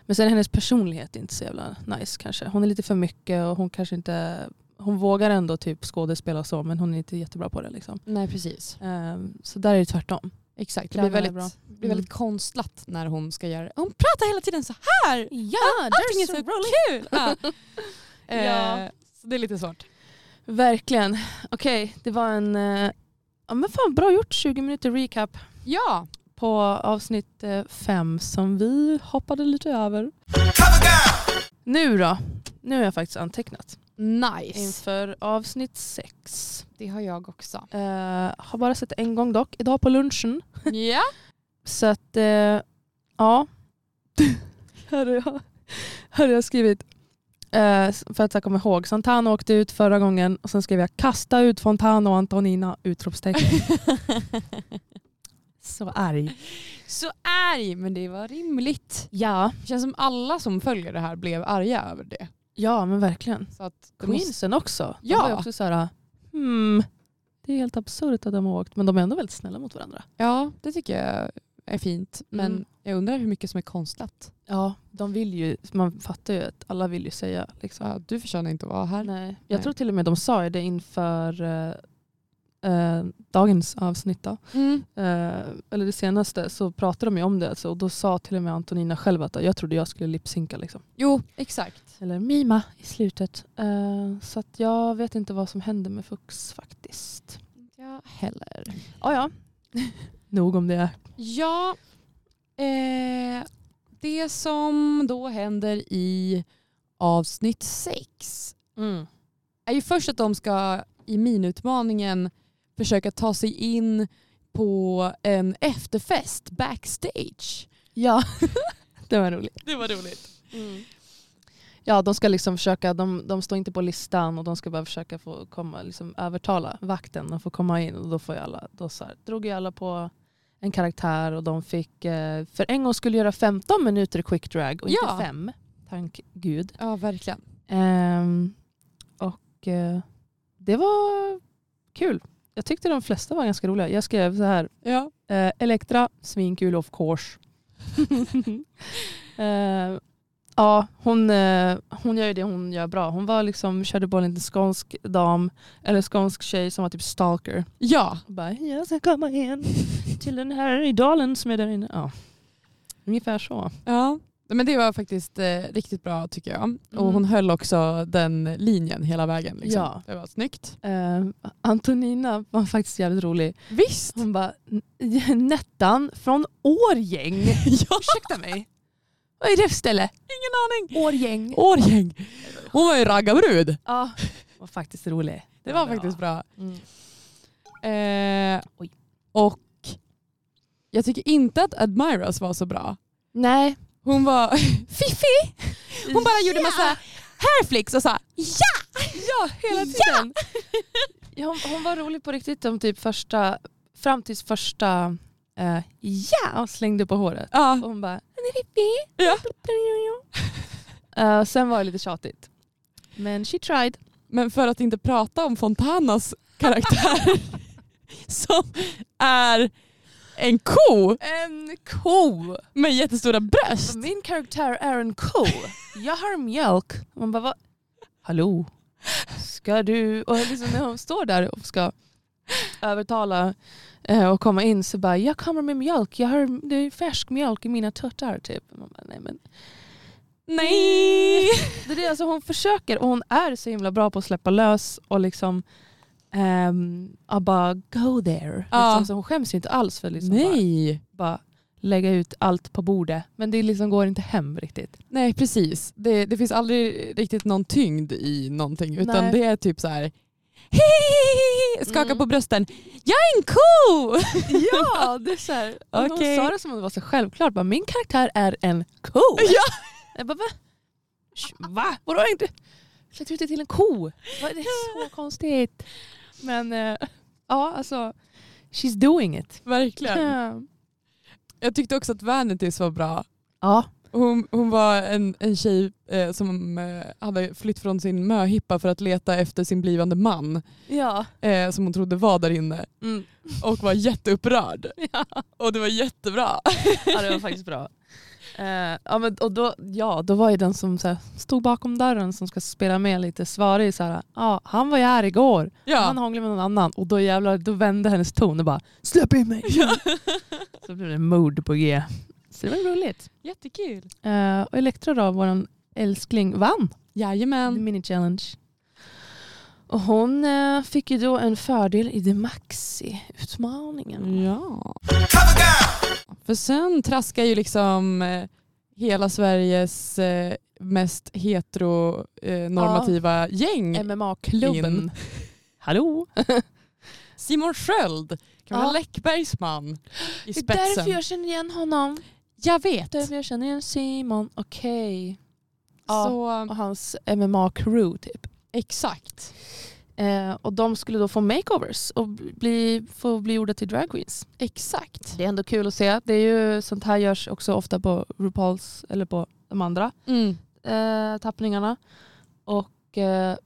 [SPEAKER 3] Men sen är hennes personlighet inte så jävla nice kanske. Hon är lite för mycket och hon kanske inte... Hon vågar ändå typ skådespela och så men hon är inte jättebra på det liksom.
[SPEAKER 2] nej precis.
[SPEAKER 3] Ehm, så där är det tvärtom.
[SPEAKER 2] Exakt. Det blir
[SPEAKER 3] Kläderna är
[SPEAKER 2] väldigt,
[SPEAKER 3] bra.
[SPEAKER 2] det blir väldigt konstlat när hon ska göra Hon pratar hela tiden så här!
[SPEAKER 3] Ja,
[SPEAKER 2] Allting är så kul! [laughs] Ja.
[SPEAKER 3] Ja.
[SPEAKER 2] Eh, så det är lite svårt.
[SPEAKER 3] Verkligen. Okej, det var en... eh, ja men fan bra gjort 20 minuter recap
[SPEAKER 2] Ja,
[SPEAKER 3] på avsnitt eh, fem som vi hoppade lite över.
[SPEAKER 1] Cover girl.
[SPEAKER 3] Nu då? Nu har jag faktiskt antecknat.
[SPEAKER 2] nice.
[SPEAKER 3] Inför avsnitt sex.
[SPEAKER 2] Det har jag också.
[SPEAKER 3] Eh, har bara sett det en gång dock, idag på lunchen.
[SPEAKER 2] ja.
[SPEAKER 3] Så att, eh, ja. [laughs] här har jag, här har jag skrivit. Eh, för att jag kommer ihåg. Santana åkte ut förra gången och sen skrev jag kasta ut Fontana och Antonina! Utropstecken. Så arg.
[SPEAKER 2] Så arg, men det var rimligt.
[SPEAKER 3] Ja.
[SPEAKER 2] Det känns som alla som följer det här blev arga över det.
[SPEAKER 3] Ja men verkligen.
[SPEAKER 2] Så att det måste-
[SPEAKER 3] Queensen också. De
[SPEAKER 2] Ja.
[SPEAKER 3] var ju också så här, hmm, det är helt absurt att de har åkt. Men de är ändå väldigt snälla mot varandra.
[SPEAKER 2] Ja, det tycker jag är fint. Men
[SPEAKER 3] Mm.
[SPEAKER 2] jag undrar hur mycket som är konstlat.
[SPEAKER 3] Ja, de vill ju, man fattar ju att alla vill ju säga. Liksom.
[SPEAKER 2] Ja, du förtjänar inte att vara här.
[SPEAKER 3] Nej. Jag
[SPEAKER 2] Nej.
[SPEAKER 3] tror till och med de sa ju det inför eh, eh, dagens avsnitt. Då.
[SPEAKER 2] Mm.
[SPEAKER 3] Eh, eller det senaste så pratade de ju om det alltså, och då sa till och med Antonina själv att jag trodde jag skulle lipsynka. Liksom.
[SPEAKER 2] Jo, exakt.
[SPEAKER 3] Eller mima i slutet. Eh, så att jag vet inte vad som hände med Fux faktiskt.
[SPEAKER 2] Ja, heller.
[SPEAKER 3] Ah, ja. [laughs] Nog om det.
[SPEAKER 2] Ja, eh, det som då händer i avsnitt sex
[SPEAKER 3] Mm.
[SPEAKER 2] är ju först att de ska i minutmaningen försöka ta sig in på en efterfest backstage.
[SPEAKER 3] Ja, det var roligt.
[SPEAKER 2] Det var roligt.
[SPEAKER 3] Ja, de ska liksom försöka, de, de står inte på listan och de ska bara försöka få komma, liksom övertala vakten och få komma in. Och då, får ju alla, då så här, drog ju alla på en karaktär och de fick eh, för en gång skulle göra 15 minuter quick drag och
[SPEAKER 2] Ja.
[SPEAKER 3] inte fem. Tack gud.
[SPEAKER 2] Ja, verkligen.
[SPEAKER 3] Ehm, och eh, det var kul. Jag tyckte de flesta var ganska roliga. Jag skrev så här,
[SPEAKER 2] Ja.
[SPEAKER 3] Eh, Elektra, svinkul of [laughs] course. eh, ja, hon, eh, hon gör ju det hon gör bra. Hon var liksom, körde bollen till skånsk dam, eller skånsk tjej som var typ stalker.
[SPEAKER 2] Ja,
[SPEAKER 3] Och bara, jag ska komma in till den här idalen som är där inne. Ja. Ungefär så.
[SPEAKER 2] ja. Men det var faktiskt eh, riktigt bra tycker jag. Och hon höll också den linjen hela vägen. Liksom.
[SPEAKER 3] Mm. Ja.
[SPEAKER 2] Det var snyggt.
[SPEAKER 3] Eh, Antonina var faktiskt jävligt rolig.
[SPEAKER 2] Visst!
[SPEAKER 3] Hon bara, "N- Nettan från Årgäng. [laughs]
[SPEAKER 2] ja.
[SPEAKER 3] Ursäkta mig. Vad är det för ställe?
[SPEAKER 2] Ingen aning.
[SPEAKER 3] Årgäng.
[SPEAKER 2] Årgäng. Hon var ju raggarbrud.
[SPEAKER 3] Ja, var faktiskt rolig.
[SPEAKER 2] Det var faktiskt bra.
[SPEAKER 3] Mm.
[SPEAKER 2] Eh,
[SPEAKER 3] Oj.
[SPEAKER 2] och jag tycker inte att Admiras var så bra.
[SPEAKER 3] Nej.
[SPEAKER 2] Hon var [laughs] fiffig. Hon bara gjorde massa hairflicks och sa ja!
[SPEAKER 3] Ja, hela tiden. Ja! Hon, hon var rolig på riktigt om typ första, fram tills första eh, ja och slängde på håret.
[SPEAKER 2] ja.
[SPEAKER 3] Och hon bara
[SPEAKER 2] Ja.
[SPEAKER 3] eh, Sen var det lite tjatigt. Men she tried.
[SPEAKER 2] Men för att inte prata om Fontanas
[SPEAKER 3] [laughs]
[SPEAKER 2] karaktär som är en ko
[SPEAKER 3] En ko!
[SPEAKER 2] med jättestora bröst.
[SPEAKER 3] Min karaktär är en ko. Jag har mjölk. Man bara, vad? Hallå? Ska du... Och liksom när hon står där och ska övertala eh, och komma in så bara, jag kommer med mjölk. Jag har, det är färsk mjölk i mina tuttar typ. Man bara, Nej, men.
[SPEAKER 2] Nej!
[SPEAKER 3] Det är det, alltså, hon försöker och hon är så himla bra på att släppa lös och liksom ehm, ja, bara go there.
[SPEAKER 2] Ja.
[SPEAKER 3] Liksom, så hon skäms ju inte alls för liksom bara,
[SPEAKER 2] Nej.
[SPEAKER 3] bara lägga ut allt på bordet. Men det liksom går inte hem riktigt.
[SPEAKER 2] Nej precis. Det, det finns aldrig riktigt någon tyngd i någonting utan
[SPEAKER 3] Nej.
[SPEAKER 2] det är typ så här Hej! Skaka
[SPEAKER 3] Mm.
[SPEAKER 2] på brösten. Jag är en ko! [laughs]
[SPEAKER 3] Ja, det är så här. Och
[SPEAKER 2] Okej.
[SPEAKER 3] Hon sa det som om det var så självklart. Bara, min karaktär är en ko.
[SPEAKER 2] Ja.
[SPEAKER 3] Jag bara, va? Sh- Va? Vadå har jag inte? Klätt ut det till en ko. Va, Det är så konstigt. Men eh, ja, alltså. She's doing it.
[SPEAKER 2] Verkligen.
[SPEAKER 3] Ja.
[SPEAKER 2] Jag tyckte också att Vanities var bra.
[SPEAKER 3] Ja.
[SPEAKER 2] Hon, hon var en, en tjej eh, som eh, hade flytt från sin möhippa för att leta efter sin blivande man
[SPEAKER 3] Ja.
[SPEAKER 2] eh, som hon trodde var där inne
[SPEAKER 3] Mm.
[SPEAKER 2] och var [laughs] jätteupprörd.
[SPEAKER 3] Ja.
[SPEAKER 2] Och det var jättebra.
[SPEAKER 3] ja, det var
[SPEAKER 2] [laughs]
[SPEAKER 3] faktiskt bra. Eh, ja, men, och då, ja, då var ju den som så här, stod bakom dörren som ska spela med lite svarig så här, ja, han var ju här igår. Han
[SPEAKER 2] Ja.
[SPEAKER 3] hånglade med någon annan och då jävlar, då vände hennes ton och bara släpp in mig. Så blev det mord på G. Så det var roligt.
[SPEAKER 2] Jättekul.
[SPEAKER 3] Eh, och Elektra då, vår älskling, vann The
[SPEAKER 2] Jajamän.
[SPEAKER 3] Mini Challenge. Och hon eh, fick ju då en fördel i The
[SPEAKER 2] Mm.
[SPEAKER 3] Maxi-utmaningen.
[SPEAKER 2] Ja.
[SPEAKER 1] Cover girl.
[SPEAKER 2] För sen traskar ju liksom eh, hela Sveriges eh, mest heteronormativa gäng.
[SPEAKER 3] MMA-klubben.
[SPEAKER 2] In.
[SPEAKER 3] Hallå?
[SPEAKER 2] Simon Sköld, Camilla
[SPEAKER 3] Ja.
[SPEAKER 2] Läckbergs man i
[SPEAKER 3] Det är därför
[SPEAKER 2] spetsen.
[SPEAKER 3] jag känner igen honom.
[SPEAKER 2] Jag vet.
[SPEAKER 3] Jag känner igen Simon, okej. Så,
[SPEAKER 2] Så
[SPEAKER 3] och hans MMA-crew typ.
[SPEAKER 2] exakt.
[SPEAKER 3] Eh, och de skulle då få makeovers och bli, få bli gjorda till drag queens.
[SPEAKER 2] Exakt.
[SPEAKER 3] Det är ändå kul att se. Det är ju, sånt här görs också ofta på RuPaul's, eller på de andra
[SPEAKER 2] Mm.
[SPEAKER 3] eh, tappningarna. Och eh,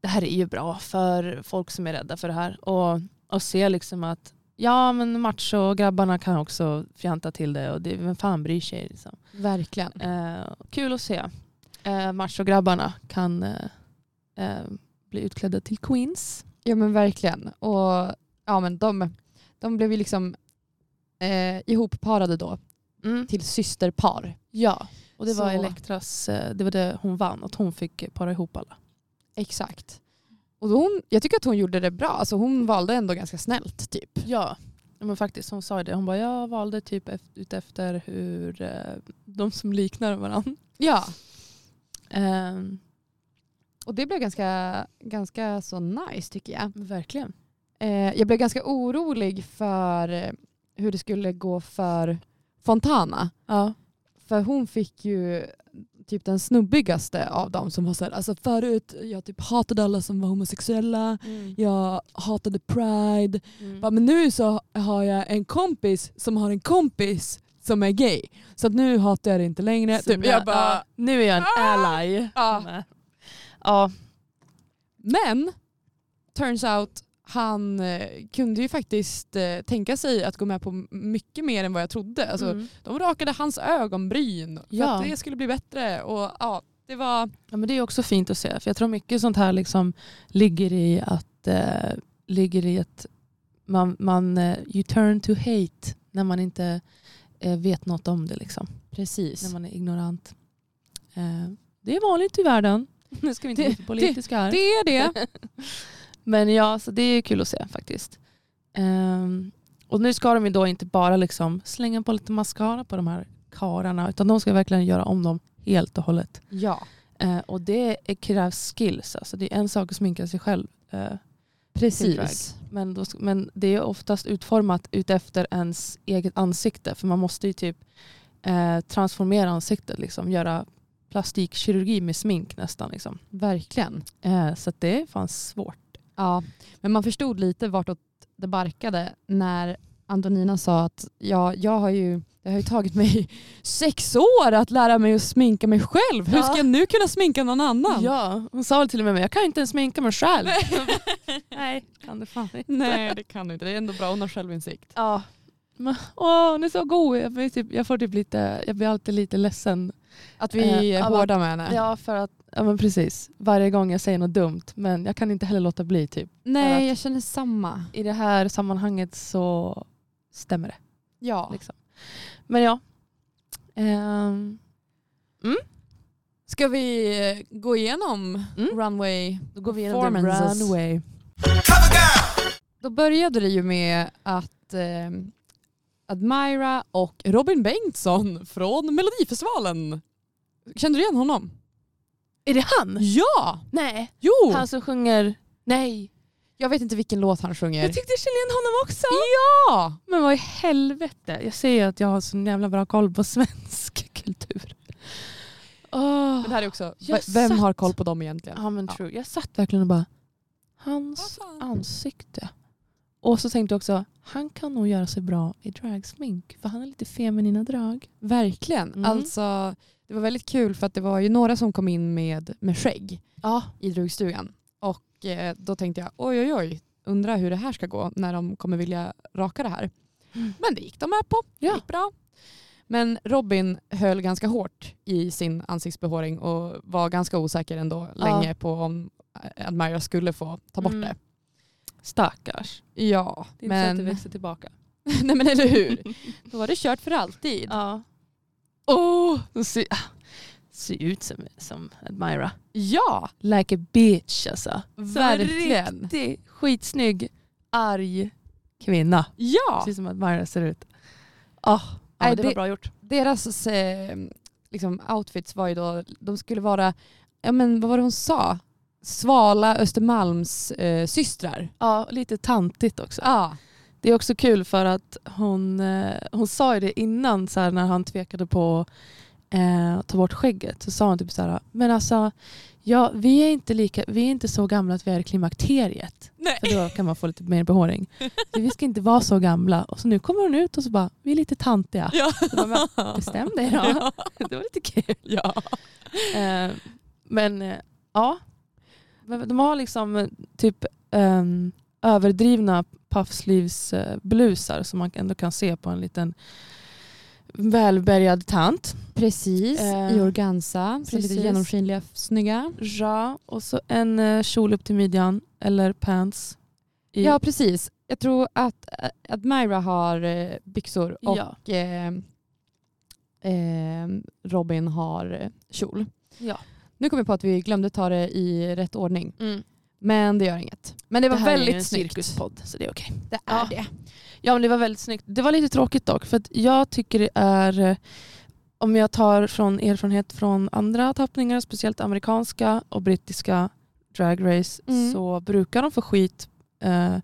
[SPEAKER 3] det här är ju bra för folk som är rädda för det här. Och, och se liksom att ja men macho-grabbarna kan också fjanta till det och det, vem fan bryr sig liksom.
[SPEAKER 2] Verkligen.
[SPEAKER 3] Eh, kul att se. Eh, macho-grabbarna kan eh, eh, bli utklädda till queens.
[SPEAKER 2] Ja men verkligen. Och ja, men de, de blev ju liksom eh, ihopparade då
[SPEAKER 3] Mm.
[SPEAKER 2] till systerpar.
[SPEAKER 3] Ja, och det var
[SPEAKER 2] Så.
[SPEAKER 3] Elektras, eh, det var det hon vann, att hon fick eh, para ihop alla.
[SPEAKER 2] Exakt. Och då hon, jag tycker att hon gjorde det bra. Alltså hon valde ändå ganska snällt typ.
[SPEAKER 3] Ja, men faktiskt hon sa ju det. Hon bara, jag valde typ ef- utefter hur eh, de som liknar varandra.
[SPEAKER 2] Ja.
[SPEAKER 3] Ehm,
[SPEAKER 2] Och det blev ganska, ganska så nice tycker jag.
[SPEAKER 3] verkligen.
[SPEAKER 2] Eh, jag blev ganska orolig för eh, hur det skulle gå för Fontana.
[SPEAKER 3] Ja.
[SPEAKER 2] För hon fick ju typ den snubbigaste av dem som var så här, alltså förut jag typ hatade alla som var homosexuella,
[SPEAKER 3] Mm.
[SPEAKER 2] jag hatade pride, Bara, men nu så har jag en kompis som har en kompis som är gay. Så att nu hatar jag det inte längre.
[SPEAKER 3] Så
[SPEAKER 2] Typ. Jag
[SPEAKER 3] nu-
[SPEAKER 2] bara,
[SPEAKER 3] ja, Ah! nu är jag en ally.
[SPEAKER 2] Ja.
[SPEAKER 3] Nej. Ja.
[SPEAKER 2] Men turns out han eh, kunde ju faktiskt eh, tänka sig att gå med på m- mycket mer än vad jag trodde. Alltså,
[SPEAKER 3] Mm.
[SPEAKER 2] De rakade hans ögonbryn för
[SPEAKER 3] Ja.
[SPEAKER 2] att det skulle bli bättre. Och, ja, det var...
[SPEAKER 3] Ja, men det är också fint att se. För jag tror mycket sånt här liksom ligger i att, eh, ligger i att man, man eh, you turn to hate när man inte eh, vet något om det. Liksom. När
[SPEAKER 2] Precis.
[SPEAKER 3] man är ignorant. Eh, det är vanligt i världen. [laughs] Nu ska vi inte
[SPEAKER 2] Det-
[SPEAKER 3] bli för politiska här.
[SPEAKER 2] Det är det.
[SPEAKER 3] Men ja, så det är kul att se faktiskt. Ehm, och nu ska de ju då inte bara liksom slänga på lite mascara på de här kararna utan de ska verkligen göra om dem helt och hållet.
[SPEAKER 2] [laughs] ja,
[SPEAKER 3] Eh, och det är, krävs skills. Alltså det är en sak att sminka sig själv. Eh,
[SPEAKER 2] precis.
[SPEAKER 3] men, då, ska- men det är oftast utformat utefter ens eget ansikte. För man måste ju typ eh, transformera ansiktet. Liksom, göra plastikkirurgi med smink nästan. Liksom.
[SPEAKER 2] Verkligen.
[SPEAKER 3] Eh, så att det är fan svårt.
[SPEAKER 2] Ja, men man förstod lite vartåt det barkade när Antonina sa att ja, jag har ju, det har ju tagit mig [laughs] sex år att lära mig att sminka mig själv. Hur
[SPEAKER 3] Ja.
[SPEAKER 2] ska jag nu kunna sminka någon annan? [laughs]
[SPEAKER 3] Ja, hon sa väl till och med mig, jag kan inte ens sminka mig själv. Nej, kan du fan inte.
[SPEAKER 2] Nej det kan du inte, det är ändå bra hon har självinsikt.
[SPEAKER 3] Ja. Men, Åh, hon är så god. Jag blir, typ, jag, får typ lite, jag blir alltid lite ledsen
[SPEAKER 2] Att vi
[SPEAKER 3] Eh,
[SPEAKER 2] är
[SPEAKER 3] alla-
[SPEAKER 2] hårda med henne.
[SPEAKER 3] Ja, för att, ja men precis. Varje gång jag säger något dumt, men jag kan inte heller låta bli typ. för
[SPEAKER 2] Nej
[SPEAKER 3] att-
[SPEAKER 2] jag känner samma.
[SPEAKER 3] I det här sammanhanget så stämmer det.
[SPEAKER 2] Ja.
[SPEAKER 3] Liksom. Men ja. Ehm,
[SPEAKER 2] Ska vi eh, gå igenom
[SPEAKER 3] Mm.
[SPEAKER 2] runway?
[SPEAKER 3] då går vi igenom the
[SPEAKER 2] Performances.
[SPEAKER 3] runway.
[SPEAKER 1] Cover girl,
[SPEAKER 2] Då började det ju med att eh, Admira och Robin Bengtsson från Melodifestivalen. Kände du igen honom?
[SPEAKER 3] Är det han?
[SPEAKER 2] Ja! Oh.
[SPEAKER 3] Nej.
[SPEAKER 2] Jo!
[SPEAKER 3] Han som sjunger Nej.
[SPEAKER 2] Jag vet inte vilken låt han sjunger.
[SPEAKER 3] Jag tyckte jag kände igen honom också.
[SPEAKER 2] Ja!
[SPEAKER 3] Men vad i helvete. Jag ser ju att jag har så jävla bra koll på svensk [laughs] kultur. Åh.
[SPEAKER 2] Men det här är också,
[SPEAKER 3] Jag
[SPEAKER 2] v- vem
[SPEAKER 3] satt-
[SPEAKER 2] har koll på dem egentligen?
[SPEAKER 3] Ja men
[SPEAKER 2] Ja.
[SPEAKER 3] true. Jag satt verkligen och bara, hans
[SPEAKER 2] Vad fan?
[SPEAKER 3] ansikte. Och så tänkte jag också, han kan nog göra sig bra i dragsmink. För han har lite feminina drag.
[SPEAKER 2] Verkligen.
[SPEAKER 3] Mm.
[SPEAKER 2] Alltså, det var väldigt kul för att det var ju några som kom in med, med skägg
[SPEAKER 3] Ja.
[SPEAKER 2] i drugstugan. Och eh, då tänkte jag oj oj oj, undrar hur det här ska gå när de kommer vilja raka det här.
[SPEAKER 3] Mm.
[SPEAKER 2] Men det gick de med på, det
[SPEAKER 3] Ja.
[SPEAKER 2] gick bra. Men Robin höll ganska hårt i sin ansiktsbehåring och var ganska osäker ändå
[SPEAKER 3] Ja.
[SPEAKER 2] länge på om eh, Admira skulle få ta bort
[SPEAKER 3] Mm.
[SPEAKER 2] det.
[SPEAKER 3] Stackars.
[SPEAKER 2] Ja,
[SPEAKER 3] Det är inte så att det
[SPEAKER 2] men,
[SPEAKER 3] växer tillbaka.
[SPEAKER 2] [laughs] nej, men eller
[SPEAKER 3] [laughs]
[SPEAKER 2] hur? Då var det kört för alltid.
[SPEAKER 3] Ja. Åh, oh, de ser, ah, ser ut som, som Admira.
[SPEAKER 2] Ja,
[SPEAKER 3] Like a bitch alltså.
[SPEAKER 2] verkligen.
[SPEAKER 3] Riktig, skitsnygg, arg kvinna.
[SPEAKER 2] Ja.
[SPEAKER 3] Precis som Admira ser ut. Ah, ja,
[SPEAKER 2] Nej,
[SPEAKER 3] men det var
[SPEAKER 2] det-
[SPEAKER 3] bra gjort.
[SPEAKER 2] deras eh, liksom, outfits var ju då, de skulle vara, ja men vad var det hon sa? Svala Östermalms eh, systrar.
[SPEAKER 3] Ja, lite tantigt också.
[SPEAKER 2] Ja,
[SPEAKER 3] Det är också kul för att hon, eh, hon sa ju det innan så här, när han tvekade på eh, att ta bort skägget. Så sa hon typ så här, men alltså ja, vi, är inte lika, vi är inte så gamla att vi är i klimakteriet.
[SPEAKER 2] Nej.
[SPEAKER 3] För då kan man få lite mer behåring. Så vi ska inte vara så gamla. Och så nu kommer hon ut och så bara, vi är lite tantiga.
[SPEAKER 2] [laughs] Ja.
[SPEAKER 3] Så man bara, Bestäm dig då.
[SPEAKER 2] Ja.
[SPEAKER 3] [laughs] Det var lite kul.
[SPEAKER 2] Ja.
[SPEAKER 3] Eh, men eh, ja, Men de har liksom eh, typ eh, överdrivna puffsleeves-blusar som man ändå kan se på en liten välbärgad tant.
[SPEAKER 2] Precis,
[SPEAKER 3] Eh,
[SPEAKER 2] i organza. Så lite
[SPEAKER 3] precis.
[SPEAKER 2] genomskinliga, snygga.
[SPEAKER 3] Ja, och så en eh, kjol upp till midjan eller pants. I,
[SPEAKER 2] Ja, precis. Jag tror att eh, Admira har eh, byxor och
[SPEAKER 3] Ja.
[SPEAKER 2] eh, eh, Robin har eh, kjol.
[SPEAKER 3] ja.
[SPEAKER 2] Nu kom jag på att vi glömde ta det i rätt ordning,
[SPEAKER 3] Mm.
[SPEAKER 2] men det gör inget. Men det var
[SPEAKER 3] här är ju en
[SPEAKER 2] väldigt snyggt.
[SPEAKER 3] cirkuspodd, så det är okej.
[SPEAKER 2] Det är
[SPEAKER 3] Ja.
[SPEAKER 2] det.
[SPEAKER 3] Ja men det var väldigt snyggt. Det var lite tråkigt dock för att jag tycker det är eh, om jag tar från erfarenhet från andra tappningar, speciellt amerikanska och brittiska drag race
[SPEAKER 2] Mm.
[SPEAKER 3] så brukar de få skit eh,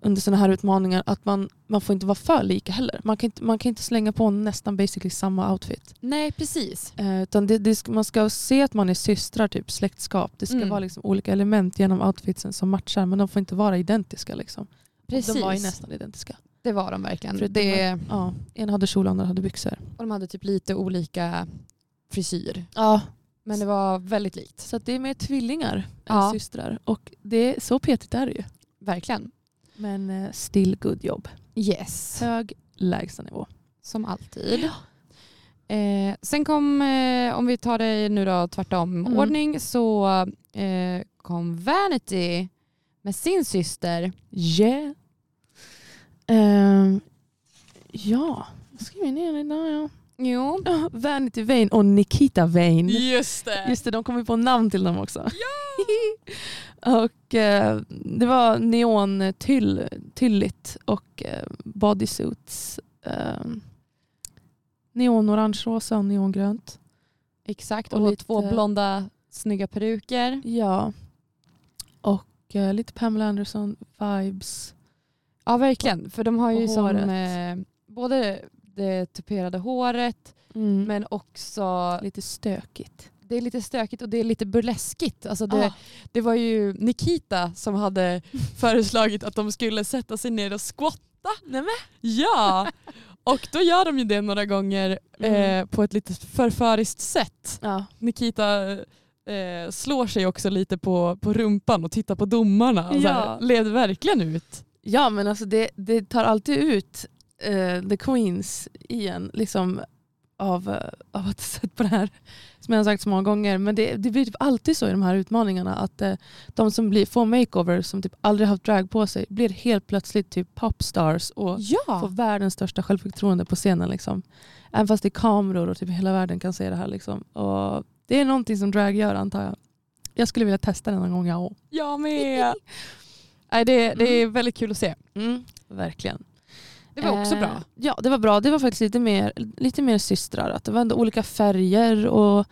[SPEAKER 3] under sådana här utmaningar att man, man får inte vara för lika heller. Man kan inte, man kan inte slänga på nästan basically samma outfit.
[SPEAKER 2] Nej, precis.
[SPEAKER 3] Eh, utan det, det, ska- man ska se att man är systrar, typ släktskap. Det ska
[SPEAKER 2] Mm.
[SPEAKER 3] vara liksom olika element genom outfitsen som matchar men de får inte vara identiska. Liksom.
[SPEAKER 2] precis.
[SPEAKER 3] De var ju nästan identiska.
[SPEAKER 2] Det var de verkligen.
[SPEAKER 3] Förutom
[SPEAKER 2] Det,
[SPEAKER 3] Ja, en hade kjol och andra hade byxor.
[SPEAKER 2] och de hade typ lite olika frisyr.
[SPEAKER 3] Ja.
[SPEAKER 2] Men det var väldigt likt.
[SPEAKER 3] Så att det är mer tvillingar än
[SPEAKER 2] Ja.
[SPEAKER 3] systrar. Och det, så petigt är det ju.
[SPEAKER 2] Verkligen.
[SPEAKER 3] Men eh, still good jobb.
[SPEAKER 2] Yes.
[SPEAKER 3] Hög lägstanivå.
[SPEAKER 2] Som alltid. Eh, sen kom, eh, om vi tar det nu då tvärtom
[SPEAKER 3] Mm.
[SPEAKER 2] ordning, så eh, kom Vanity med sin syster.
[SPEAKER 3] Yeah. Ehm, ja, jag skriver ner det där ja.
[SPEAKER 2] Jo.
[SPEAKER 3] Ja, [laughs] Vanity Vane och Nikita Vane.
[SPEAKER 2] Just det.
[SPEAKER 3] Just det, de kom ju på namn till dem också. [laughs] och eh, det var neontylligt och eh, bodysuits. Eh, neonorange, rosa och neongrönt.
[SPEAKER 2] Exakt,
[SPEAKER 3] Och
[SPEAKER 2] och,
[SPEAKER 3] lite-
[SPEAKER 2] två blonda snygga peruker.
[SPEAKER 3] Ja. Och eh, lite Pamela Anderson-vibes.
[SPEAKER 2] Ja verkligen, för de har ju
[SPEAKER 3] Och
[SPEAKER 2] som
[SPEAKER 3] håret.
[SPEAKER 2] eh, både det tuperade håret
[SPEAKER 3] Men
[SPEAKER 2] men också
[SPEAKER 3] lite stökigt.
[SPEAKER 2] det är lite stökigt och det är lite burleskigt. Alltså det,
[SPEAKER 3] Det,
[SPEAKER 2] det var ju Nikita som
[SPEAKER 3] [laughs]
[SPEAKER 2] hade föreslagit att de skulle sätta sig ner och squatta.
[SPEAKER 3] Nej, men.
[SPEAKER 2] Ja, och då gör de ju det några gånger eh,
[SPEAKER 3] Mm.
[SPEAKER 2] på ett lite förföriskt sätt.
[SPEAKER 3] ja.
[SPEAKER 2] Nikita eh, slår sig också lite på, på rumpan och tittar på domarna. och Så här,
[SPEAKER 3] Ja.
[SPEAKER 2] led verkligen ut.
[SPEAKER 3] ja men alltså det, det tar alltid ut eh, the queens igen. Liksom av, eh, av att ha sett på det här. Som jag har sagt så många gånger. Men det, det blir typ alltid så i de här utmaningarna. Att eh, de som blir, får makeover som typ aldrig haft drag på sig blir helt plötsligt typ popstars och får
[SPEAKER 2] Ja,
[SPEAKER 3] världens största självförtroende på scenen. Liksom. Även fast det är kameror och typ hela världen kan se det här. Liksom. Och det är någonting som drag gör antar jag. Jag skulle vilja testa den någon gång. Ja.
[SPEAKER 2] jag
[SPEAKER 3] [laughs]
[SPEAKER 2] med. Nej, det, det
[SPEAKER 3] Mm.
[SPEAKER 2] är väldigt kul att se.
[SPEAKER 3] Verkligen.
[SPEAKER 2] Det var
[SPEAKER 3] Eh,
[SPEAKER 2] också bra.
[SPEAKER 3] Ja, det var bra. Det var faktiskt lite mer, lite mer systrar. Att det var ändå olika färger och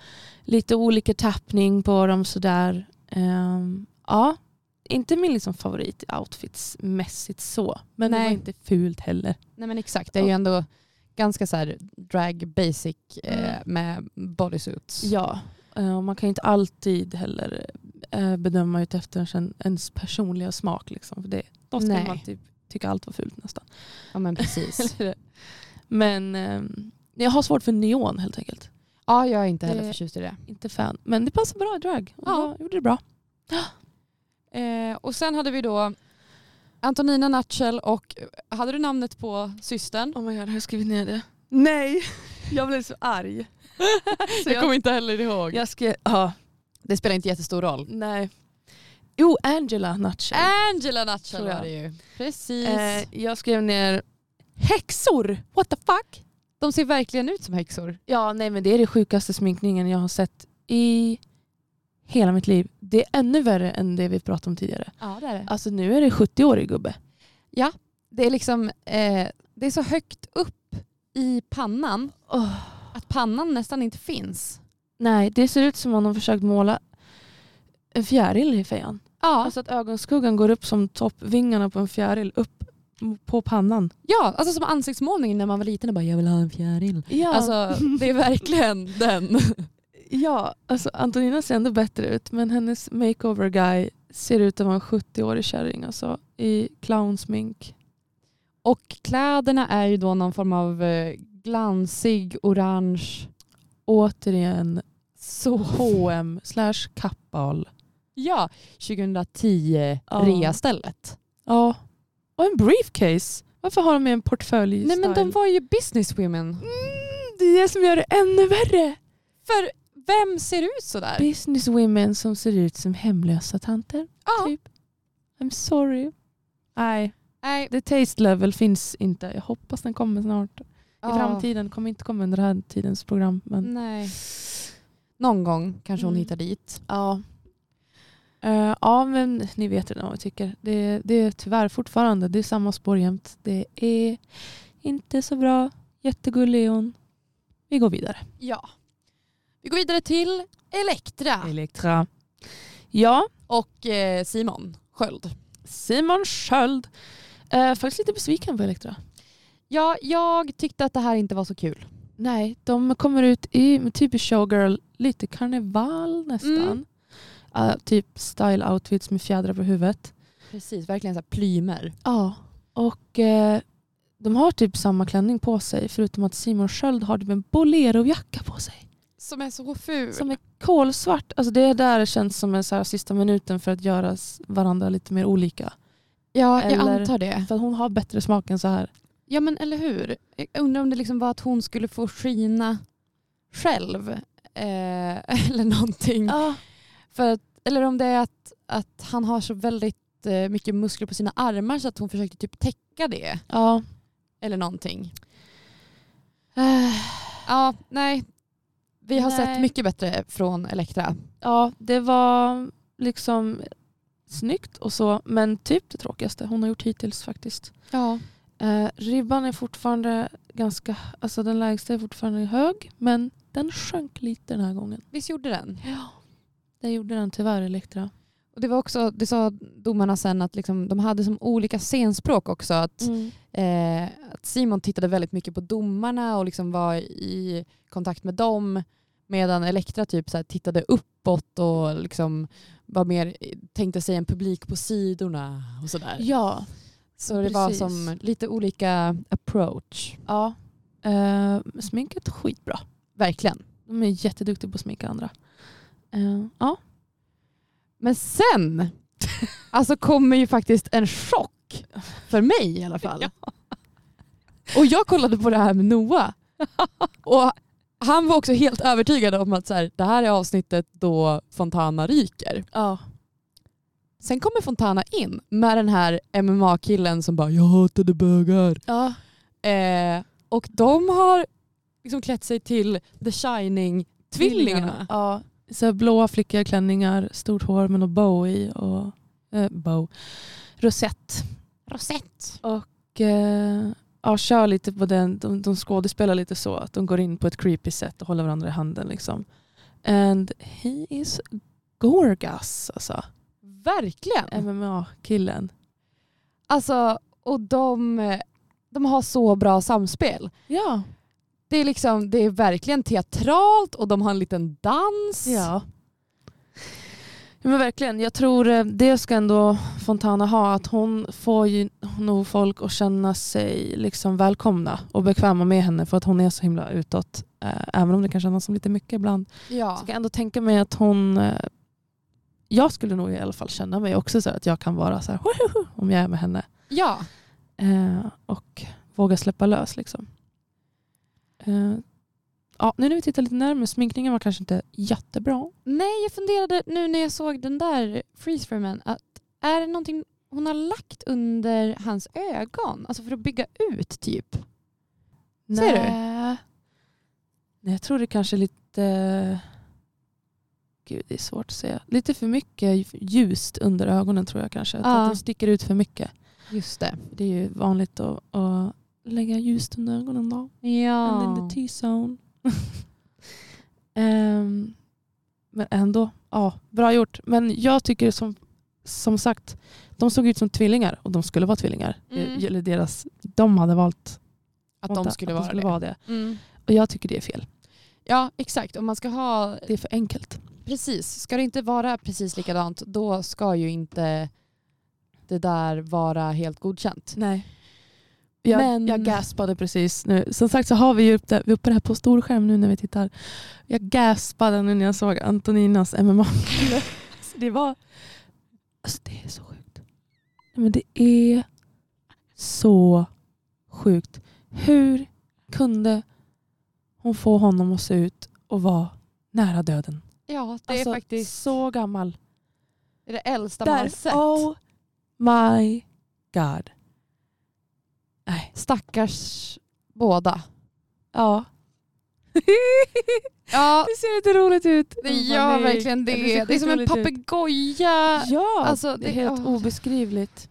[SPEAKER 3] lite olika tappning på dem. Sådär. Ehm, ja. Inte min liksom favorit outfitsmässigt så. Men det
[SPEAKER 2] Nej.
[SPEAKER 3] var inte fult heller.
[SPEAKER 2] Nej men exakt, det är ju ändå ganska så här drag basic eh,
[SPEAKER 3] Mm.
[SPEAKER 2] med bodysuits.
[SPEAKER 3] Ja, eh, och man kan ju inte alltid heller eh, bedöma utefter sin- ens personliga smak. Liksom, för det, då skulle
[SPEAKER 2] Nej.
[SPEAKER 3] man typ tycka allt var fult nästan.
[SPEAKER 2] Ja, men precis.
[SPEAKER 3] Men ehm, jag har svårt för neon helt enkelt.
[SPEAKER 2] [laughs] ja, jag är inte heller
[SPEAKER 3] Det-
[SPEAKER 2] förtjust i det.
[SPEAKER 3] Inte fan. Men det passar bra i drag. Och
[SPEAKER 2] Ja.
[SPEAKER 3] jag gjorde det bra.
[SPEAKER 2] Eh, och sen hade vi då Antonina Natchel och eh, hade du namnet på [laughs] systern?
[SPEAKER 3] Oh my god, har jag skrivit ner det? Nej! [laughs] Jag blev så [laughs] arg. så jag,
[SPEAKER 2] inte heller ihåg.
[SPEAKER 3] jag skrev... Ja,
[SPEAKER 2] Det spelar inte jättestor roll.
[SPEAKER 3] nej. Jo, Angela Nutshell.
[SPEAKER 2] Angela Natchel
[SPEAKER 3] Tror jag.
[SPEAKER 2] var det ju. Precis.
[SPEAKER 3] Eh, jag skrev ner häxor. What the fuck?
[SPEAKER 2] De ser verkligen ut som häxor.
[SPEAKER 3] Ja, nej men det är det sjukaste sminkningen jag har sett i hela mitt liv. Det är ännu värre än det vi pratade om tidigare.
[SPEAKER 2] Ja det är det.
[SPEAKER 3] Alltså nu är det 70-årig gubbe.
[SPEAKER 2] Det är liksom eh, det är så högt upp i pannan att pannan nästan inte finns.
[SPEAKER 3] Nej, det ser ut som om de försökt måla en fjäril i fejan.
[SPEAKER 2] Ja,
[SPEAKER 3] Alltså att ögonskuggan går upp som toppvingarna på en fjäril upp på pannan.
[SPEAKER 2] Ja, alltså som ansiktsmålningen när man var liten och bara jag vill ha en fjäril.
[SPEAKER 3] Ja,
[SPEAKER 2] Alltså det är [laughs] verkligen den.
[SPEAKER 3] ja alltså Antonina ser ändå bättre ut men hennes makeover guy ser ut att vara en 70-årig kärring alltså, i clownsmink.
[SPEAKER 2] Och kläderna är ju då någon form av eh, glansig orange.
[SPEAKER 3] Återigen
[SPEAKER 2] Så.
[SPEAKER 3] H&M slash kappahl.
[SPEAKER 2] Ja, 2010
[SPEAKER 3] Ja.
[SPEAKER 2] reastället.
[SPEAKER 3] Ja. Och en briefcase. Varför har de med en portfölj?
[SPEAKER 2] Nej men de
[SPEAKER 3] style?
[SPEAKER 2] var ju businesswomen.
[SPEAKER 3] Mm, det är det som gör det ännu värre.
[SPEAKER 2] För vem ser ut sådär?
[SPEAKER 3] Businesswomen som ser ut som hemlösa tanter.
[SPEAKER 2] Ja.
[SPEAKER 3] Typ. I'm sorry. Nej,
[SPEAKER 2] Nej,
[SPEAKER 3] the taste level finns inte. Jag hoppas den kommer snart. I
[SPEAKER 2] ja.
[SPEAKER 3] framtiden. Kommer inte komma under den här tidens program. Men... Eh,
[SPEAKER 2] Nej. Någon gång kanske hon
[SPEAKER 3] Mm.
[SPEAKER 2] hittar dit.
[SPEAKER 3] Ja. Eh, ja men ni vet redan vad jag tycker. Det, det är tyvärr fortfarande det är samma spår jämt. Det är inte så bra. Jättegullig är hon. Vi går vidare.
[SPEAKER 2] Ja. Vi går vidare till Elektra
[SPEAKER 3] Elektra. Ja,
[SPEAKER 2] och eh, Simon Sköld.
[SPEAKER 3] Simon Sköld. Eh, faktiskt lite besviken på Elektra.
[SPEAKER 2] Ja, jag tyckte att det här inte var så kul.
[SPEAKER 3] Nej, de kommer ut i typisk showgirl, lite karneval nästan.
[SPEAKER 2] Mm.
[SPEAKER 3] Eh, typ style outfits med fjädrar på huvudet.
[SPEAKER 2] Precis, verkligen så här plymer.
[SPEAKER 3] Ja, och eh, de har typ samma klänning på sig förutom att Simon Sköld har typ en bolerojacka på sig.
[SPEAKER 2] Som är så ful.
[SPEAKER 3] Som är kolsvart. Alltså det där känns som en så här sista minuten för att göra s- varandra lite mer olika.
[SPEAKER 2] ja, jag
[SPEAKER 3] Eller-
[SPEAKER 2] antar det.
[SPEAKER 3] För att hon har bättre smak än så här.
[SPEAKER 2] Ja men eller hur? Jag undrar om det liksom var att hon skulle få skina själv. Eh, [laughs] eller någonting.
[SPEAKER 3] Ja,
[SPEAKER 2] För att, eller om det är att, att han har så väldigt eh, mycket muskler på sina armar så att hon försökte typ täcka det.
[SPEAKER 3] ja.
[SPEAKER 2] Eller någonting.
[SPEAKER 3] Eh,
[SPEAKER 2] Ja, nej. Vi har sett
[SPEAKER 3] Nej.
[SPEAKER 2] mycket bättre från Elektra.
[SPEAKER 3] Ja, det var liksom snyggt och så, men typ det tråkigaste hon har gjort hittills faktiskt.
[SPEAKER 2] Ja.
[SPEAKER 3] Eh, ribban är fortfarande ganska, alltså den lägsta är fortfarande hög, men den sjönk lite den här gången.
[SPEAKER 2] Visst gjorde den?
[SPEAKER 3] Ja. Det gjorde den tyvärr, Elektra.
[SPEAKER 2] Och det var också, det sa domarna sen att liksom, de hade som olika scenspråk också. Att,
[SPEAKER 3] Mm.
[SPEAKER 2] eh, att Simon tittade väldigt mycket på domarna och liksom var i kontakt med dem. Medan Elektra typ så här tittade uppåt och liksom var mer, tänkte sig en publik på sidorna och sådär.
[SPEAKER 3] Ja,
[SPEAKER 2] Så det var
[SPEAKER 3] Precis.
[SPEAKER 2] som lite olika approach.
[SPEAKER 3] ja. Eh, sminket skitbra.
[SPEAKER 2] Verkligen.
[SPEAKER 3] De är jätteduktiga på att sminka andra. Eh, ja.
[SPEAKER 2] Men sen alltså kommer ju faktiskt en chock för mig i alla fall. Och jag kollade på det här med Noah. Och han var också helt övertygad om att så här, det här är avsnittet då Fontana ryker.
[SPEAKER 3] ja.
[SPEAKER 2] Sen kommer Fontana in med den här MMA-killen som bara “jag hatade bögar”.
[SPEAKER 3] ja.
[SPEAKER 2] Eh, och de har liksom klätt sig till The Shining-tvillingarna.
[SPEAKER 3] Ja, så här blåa flickiga klänningar, stort hår med någon bow i och eh, bow. rosett.
[SPEAKER 2] Rosett.
[SPEAKER 3] Och eh, ja, kör lite på den, de, de skådespelar lite så att de går in på ett creepy sätt och håller varandra i handen liksom. And he is gorgas alltså.
[SPEAKER 2] Verkligen.
[SPEAKER 3] MMA-killen.
[SPEAKER 2] Alltså, och de, de har så bra samspel.
[SPEAKER 3] Ja.
[SPEAKER 2] Det är, liksom, det är verkligen teatralt och de har en liten dans.
[SPEAKER 3] Ja. Ja, Men verkligen, jag tror eh, det ska ändå Fontana ha, att hon får ju nog folk att känna sig liksom välkomna och bekväma med henne för att hon är så himla utåt. Eh, Även om det kan kännas som lite mycket ibland.
[SPEAKER 2] Ja.
[SPEAKER 3] Så kan jag ändå tänka mig att hon, eh, jag skulle nog i alla fall känna mig också så här att jag kan vara så här "Wohoho!" om jag är med henne
[SPEAKER 2] ja.
[SPEAKER 3] Eh, och våga släppa lös liksom. Eh, Ja, nu när vi tittar lite närmare, sminkningen var kanske inte jättebra.
[SPEAKER 2] Nej, jag funderade nu när jag såg den där freeze framen att är det någonting hon har lagt under hans ögon? Alltså för att bygga ut typ. Ser du?
[SPEAKER 3] Nej. Nej, jag tror det kanske är lite... Gud, det är svårt att säga. Lite för mycket ljust under ögonen tror jag kanske. Jag tror
[SPEAKER 2] Ja.
[SPEAKER 3] Att de sticker ut för mycket.
[SPEAKER 2] Just det.
[SPEAKER 3] Det är ju vanligt att, att lägga ljust under ögonen då. And in
[SPEAKER 2] Ja.
[SPEAKER 3] the T-zone. [laughs] Ehm, men ändå, ja, bra gjort. Men jag tycker som som sagt, de såg ut som tvillingar och de skulle vara tvillingar.
[SPEAKER 2] Mm.
[SPEAKER 3] Eh, Eller deras, de hade valt
[SPEAKER 2] Att de
[SPEAKER 3] valt
[SPEAKER 2] skulle
[SPEAKER 3] att
[SPEAKER 2] vara det.
[SPEAKER 3] det.
[SPEAKER 2] Mm.
[SPEAKER 3] Och jag tycker det är fel.
[SPEAKER 2] Ja, exakt. Om man ska ha
[SPEAKER 3] Det är för enkelt.
[SPEAKER 2] Precis. Ska det inte vara precis likadant då ska ju inte det där vara helt godkänt.
[SPEAKER 3] Nej. Jag,
[SPEAKER 2] Men-
[SPEAKER 3] jag gaspade precis nu. Som sagt så har vi ju upp det, vi har uppe det här på stor skärm nu när vi tittar. Jag gaspade nu när jag såg Antoninas
[SPEAKER 2] [laughs]
[SPEAKER 3] MMA. alltså, det var... Alltså det är så sjukt. Nej, Men det är så sjukt. Hur kunde hon få honom att se ut och vara nära döden?
[SPEAKER 2] Ja, det
[SPEAKER 3] alltså,
[SPEAKER 2] är faktiskt
[SPEAKER 3] så gammal.
[SPEAKER 2] det är det äldsta man har sett.
[SPEAKER 3] Oh my god. Nej.
[SPEAKER 2] Stackars båda.
[SPEAKER 3] Ja. [laughs]
[SPEAKER 2] Ja,
[SPEAKER 3] det ser lite roligt ut. Oh
[SPEAKER 2] Mm, det gör verkligen det. Det, är som en papegoja.
[SPEAKER 3] Ja,
[SPEAKER 2] Alltså,
[SPEAKER 3] det är
[SPEAKER 2] det-
[SPEAKER 3] helt
[SPEAKER 2] åh.
[SPEAKER 3] obeskrivligt.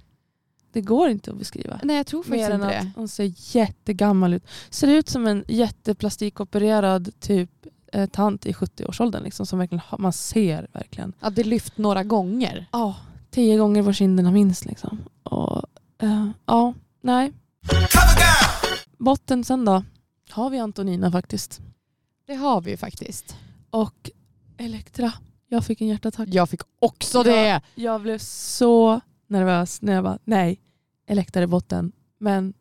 [SPEAKER 3] Det går inte att beskriva.
[SPEAKER 2] Nej, jag tror faktiskt
[SPEAKER 3] Mer än
[SPEAKER 2] inte
[SPEAKER 3] att
[SPEAKER 2] det.
[SPEAKER 3] hon ser jättegammal ut. Ser ut som en jätteplastikopererad typ eh, tant i 70-årsåldern. Liksom, som verkligen, har- man ser verkligen.
[SPEAKER 2] Att det lyft några gånger.
[SPEAKER 3] Ja, tio gånger var kinderna minst. Liksom. Och, eh, ja, nej.
[SPEAKER 1] Cover girl.
[SPEAKER 3] Botten sen då? Har vi Antonina faktiskt.
[SPEAKER 2] Det har vi ju faktiskt.
[SPEAKER 3] Och Elektra. Jag fick en hjärtattack.
[SPEAKER 2] Jag fick också
[SPEAKER 3] Ja.
[SPEAKER 2] det.
[SPEAKER 3] Jag blev så nervös när jag bara, nej, Elektra är botten. Men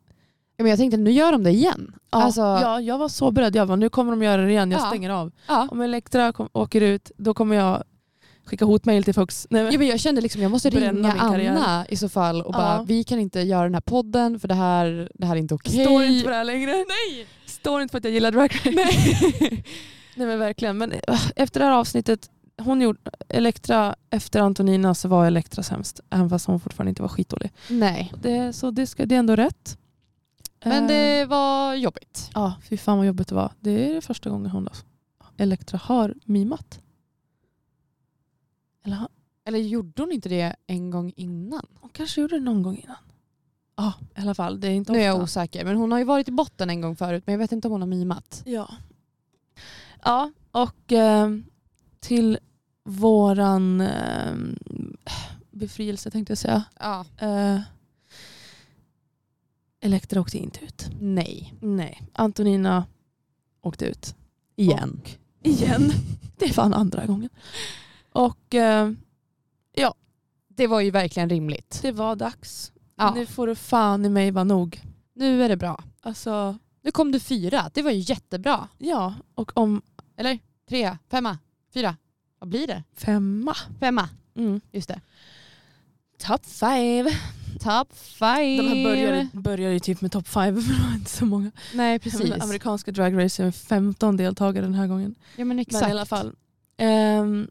[SPEAKER 2] Ja, Men jag tänkte nu gör de det igen.
[SPEAKER 3] ja,
[SPEAKER 2] Alltså,
[SPEAKER 3] ja, jag var så beredd. Jag bara, nu kommer de göra det igen. Jag
[SPEAKER 2] Ja.
[SPEAKER 3] stänger av.
[SPEAKER 2] Ja.
[SPEAKER 3] Om Elektra kom, åker ut, då kommer jag skicka hotmail till folks. Nej, men,
[SPEAKER 2] Ja, men jag kände liksom jag måste
[SPEAKER 3] Bränna
[SPEAKER 2] ringa
[SPEAKER 3] min karriär.
[SPEAKER 2] Anna i så fall och
[SPEAKER 3] Ja.
[SPEAKER 2] bara vi kan inte göra den här podden för det här, det här är inte okej.
[SPEAKER 3] Står inte för det här längre. Nej. Står inte för att jag gillar drag race. Nej. Nej men verkligen. Men äh, efter det här avsnittet, hon gjorde, Elektra, efter Antonina så var Elektra sämst. Även fast hon fortfarande inte var skitdålig.
[SPEAKER 2] Nej.
[SPEAKER 3] Det, så det, ska, det är ändå rätt.
[SPEAKER 2] Men
[SPEAKER 3] Eh,
[SPEAKER 2] det var jobbigt.
[SPEAKER 3] Ja, fy fan vad jobbigt det var. Det är det första gången hon då, Elektra har mimat. Eller ha-
[SPEAKER 2] Eller gjorde hon inte det en gång innan?
[SPEAKER 3] hon kanske gjorde det någon gång innan. Ja, i alla fall. Det är inte
[SPEAKER 2] Nu är jag
[SPEAKER 3] ofta.
[SPEAKER 2] osäker men hon har ju varit i botten en gång förut men jag vet inte om hon har mimat.
[SPEAKER 3] Ja. Ja, och eh, till våran eh, befrielse tänkte jag säga.
[SPEAKER 2] Ja.
[SPEAKER 3] Eh, Elektra åkte inte ut.
[SPEAKER 2] Nej.
[SPEAKER 3] Nej. Antonina åkte ut.
[SPEAKER 2] Igen.
[SPEAKER 3] igen. Det är fan andra gången. Och eh,
[SPEAKER 2] Det var ju verkligen rimligt.
[SPEAKER 3] det var dags.
[SPEAKER 2] Ja.
[SPEAKER 3] Nu får du fan i mig vara nog.
[SPEAKER 2] Nu är det bra.
[SPEAKER 3] Alltså,
[SPEAKER 2] Nu kom du fyra, det var ju jättebra.
[SPEAKER 3] ja. Och om
[SPEAKER 2] Eller? Tre, femma, fyra. Vad blir det?
[SPEAKER 3] femma.
[SPEAKER 2] Femma,
[SPEAKER 3] Mm.
[SPEAKER 2] just det.
[SPEAKER 3] Top five.
[SPEAKER 2] Top five.
[SPEAKER 3] De här börjar, börjar ju typ med top five, [laughs] men det var inte så många.
[SPEAKER 2] Nej
[SPEAKER 3] [laughs] Precis.
[SPEAKER 2] precis.
[SPEAKER 3] Men amerikanska Drag Race är 15 deltagare den här gången.
[SPEAKER 2] Ja men exakt.
[SPEAKER 3] Men i alla fall. Ehm,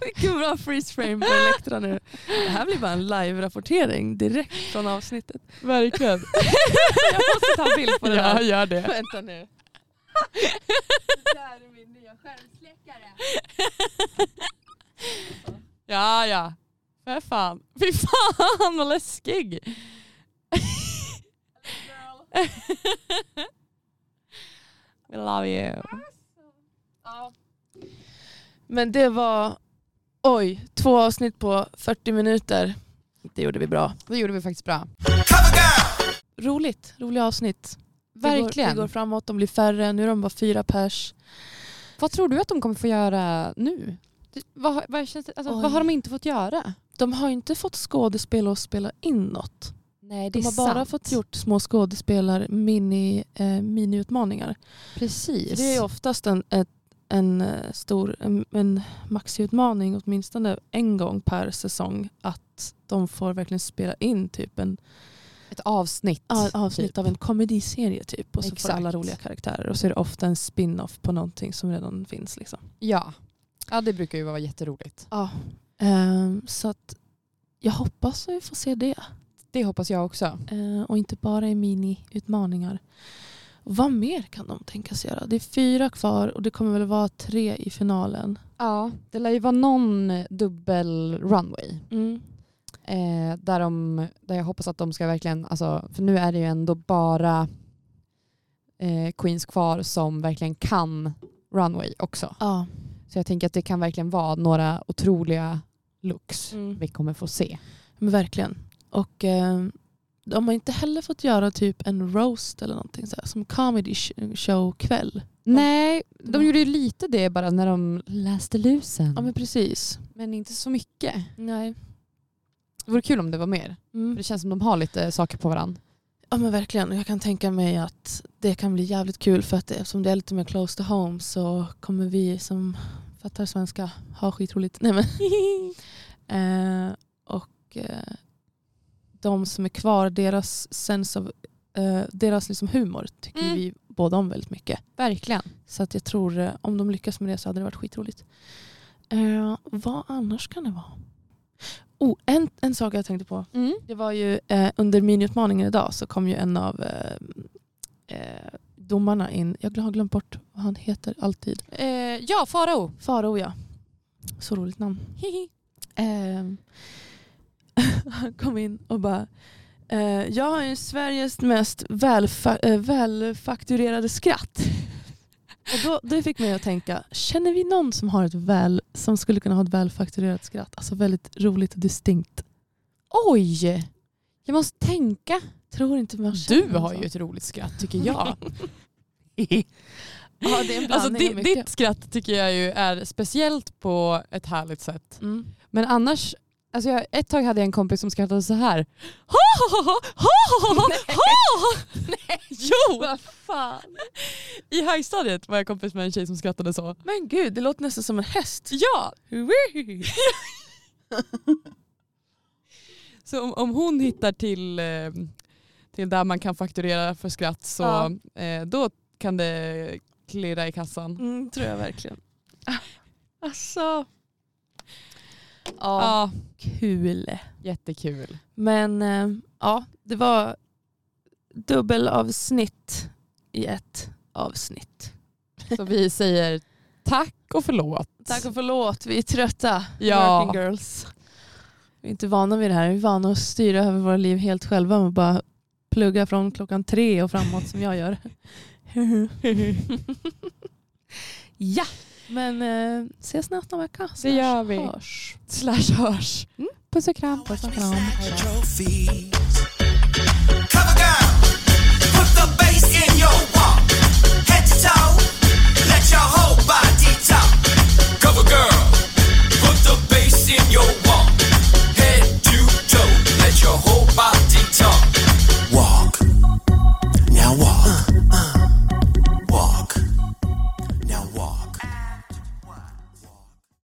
[SPEAKER 3] Vilken
[SPEAKER 2] [laughs]
[SPEAKER 3] bra freeze frame på Elektra nu. [laughs] Det här blir bara en live-rapportering direkt från avsnittet. [laughs]
[SPEAKER 2] Verkligen.
[SPEAKER 3] Jag måste ta en bild på det här.
[SPEAKER 2] gör det.
[SPEAKER 3] Vänta nu.
[SPEAKER 4] där är min nya skärmsläckare.
[SPEAKER 2] Ja, ja. Fy fan. Fy fan vad läskig. [laughs] We love you.
[SPEAKER 3] Men det var, oj, två avsnitt på 40 minuter. Det gjorde vi bra.
[SPEAKER 2] Det gjorde vi faktiskt bra.
[SPEAKER 1] Cover girl.
[SPEAKER 3] Roligt, roliga avsnitt.
[SPEAKER 2] Verkligen.
[SPEAKER 3] Det går, det går framåt, de blir färre, nu är de bara fyra pers.
[SPEAKER 2] Vad tror du att de kommer få göra nu? Det- Vad, har- vad, känns det, alltså,
[SPEAKER 3] Oj.
[SPEAKER 2] vad har de inte fått göra?
[SPEAKER 3] De har ju inte fått skådespela och spela in något.
[SPEAKER 2] Nej,
[SPEAKER 3] De har bara fått gjort små skådespelar, mini, eh, miniutmaningar.
[SPEAKER 2] Precis.
[SPEAKER 3] Det är oftast en, ett, en eh, stor en, en maxutmaning åtminstone en gång per säsong att de får verkligen spela in typ en
[SPEAKER 2] ett avsnitt.
[SPEAKER 3] Ja, ett avsnitt
[SPEAKER 2] typ.
[SPEAKER 3] av en komediserie typ. Och så får
[SPEAKER 2] Exakt.
[SPEAKER 3] alla roliga karaktärer. Och så är det ofta en spin-off på någonting som redan finns. Liksom.
[SPEAKER 2] Ja. ja, det brukar ju vara jätteroligt.
[SPEAKER 3] Ehm, så att jag hoppas att vi får se det.
[SPEAKER 2] Det hoppas jag också.
[SPEAKER 3] Ehm, och inte bara i mini-utmaningar. Vad mer kan de tänkas göra? Det är fyra kvar och det kommer väl vara tre i finalen.
[SPEAKER 2] Ja, det lär ju vara någon dubbel runway.
[SPEAKER 3] Mm.
[SPEAKER 2] Eh, där, de, där jag hoppas att de ska verkligen, alltså, för nu är det ju ändå bara eh, Queens kvar som verkligen kan runway också.
[SPEAKER 3] Ja.
[SPEAKER 2] Så jag tänker att det kan verkligen vara några otroliga looks
[SPEAKER 3] Mm.
[SPEAKER 2] vi kommer få se.
[SPEAKER 3] Men verkligen. Och eh, de har inte heller fått göra typ en roast eller någonting så här, som comedy sh- show kväll.
[SPEAKER 2] Nej, de Mm. gjorde ju lite det bara när de läste lusen.
[SPEAKER 3] Ja men precis.
[SPEAKER 2] Men inte så mycket.
[SPEAKER 3] Nej.
[SPEAKER 2] Det vore kul om det var mer. För
[SPEAKER 3] Mm.
[SPEAKER 2] det känns som de har lite saker på varandra.
[SPEAKER 3] Ja men verkligen. Och Jag kan tänka mig att det kan bli jävligt kul för att det- eftersom det är lite mer close to home så kommer vi som fattar svenska ha skitroligt. Nej men. eh, och eh, de som är kvar, deras sense of, eh, deras liksom humor tycker
[SPEAKER 2] Mm.
[SPEAKER 3] vi båda om väldigt mycket.
[SPEAKER 2] Verkligen.
[SPEAKER 3] Så att jag tror eh, om de lyckas med det så hade det varit skitroligt. Eh, vad annars kan det vara? Oh, en, en sak jag tänkte på.
[SPEAKER 2] Mm.
[SPEAKER 3] Det var ju eh, under miniutmaningen idag så kom ju en av eh, eh, domarna in. Jag har glömt bort vad han heter alltid.
[SPEAKER 2] Eh, ja, Farao.
[SPEAKER 3] Farao ja. Så roligt namn.
[SPEAKER 2] Hihi.
[SPEAKER 3] Ehm, [laughs] han kom in och bara eh, Jag har ju Sveriges mest välfa- eh, välfakturerade skratt. [laughs] Och då, det fick mig att tänka, känner vi någon som, har ett väl, som skulle kunna ha ett välfakturerat skratt? Alltså väldigt roligt och distinkt.
[SPEAKER 2] Oj! Jag måste tänka.
[SPEAKER 3] Tror inte man känner
[SPEAKER 2] Du
[SPEAKER 3] någon
[SPEAKER 2] har
[SPEAKER 3] sån.
[SPEAKER 2] ju ett roligt skratt tycker
[SPEAKER 3] [laughs]
[SPEAKER 2] [laughs] jag.
[SPEAKER 3] ja, det är en
[SPEAKER 2] alltså,
[SPEAKER 3] blandning
[SPEAKER 2] di-
[SPEAKER 3] av mycket.
[SPEAKER 2] ditt skratt tycker jag ju är speciellt på ett härligt sätt.
[SPEAKER 3] Mm.
[SPEAKER 2] Men annars, alltså jag, ett tag hade jag en kompis som skrattade så här. Jo!
[SPEAKER 3] Vad fan.
[SPEAKER 2] I högstadiet var jag kompis med en tjej som skrattade så.
[SPEAKER 3] Men gud, det låter nästan som en häst.
[SPEAKER 2] Ja! Så om, om hon hittar till, eh, till där man kan fakturera för skratt så eh, då kan det klirra i kassan.
[SPEAKER 3] [laughs] Mm, tror jag verkligen. Ah, Alltså. Ja,
[SPEAKER 2] Ja,
[SPEAKER 3] kul.
[SPEAKER 2] jättekul.
[SPEAKER 3] Men eh, ja, det var dubbelavsnitt i ett avsnitt.
[SPEAKER 2] Så vi säger tack och förlåt.
[SPEAKER 3] Tack och förlåt, vi är trötta.
[SPEAKER 2] Ja.
[SPEAKER 3] Working girls. Vi är inte vana vid det här. Vi är vana att styra över våra liv helt själva och bara plugga från klockan tre och framåt som
[SPEAKER 2] [laughs]
[SPEAKER 3] jag gör. ja, men eh, ses nästa vecka.
[SPEAKER 2] Det gör
[SPEAKER 3] Slash
[SPEAKER 2] vi.
[SPEAKER 3] Hörs.
[SPEAKER 2] Slash hörs.
[SPEAKER 3] Mm.
[SPEAKER 2] Puss och kram.
[SPEAKER 3] Puss och
[SPEAKER 2] kram.
[SPEAKER 3] kram.
[SPEAKER 2] Hej då.
[SPEAKER 1] Trophies.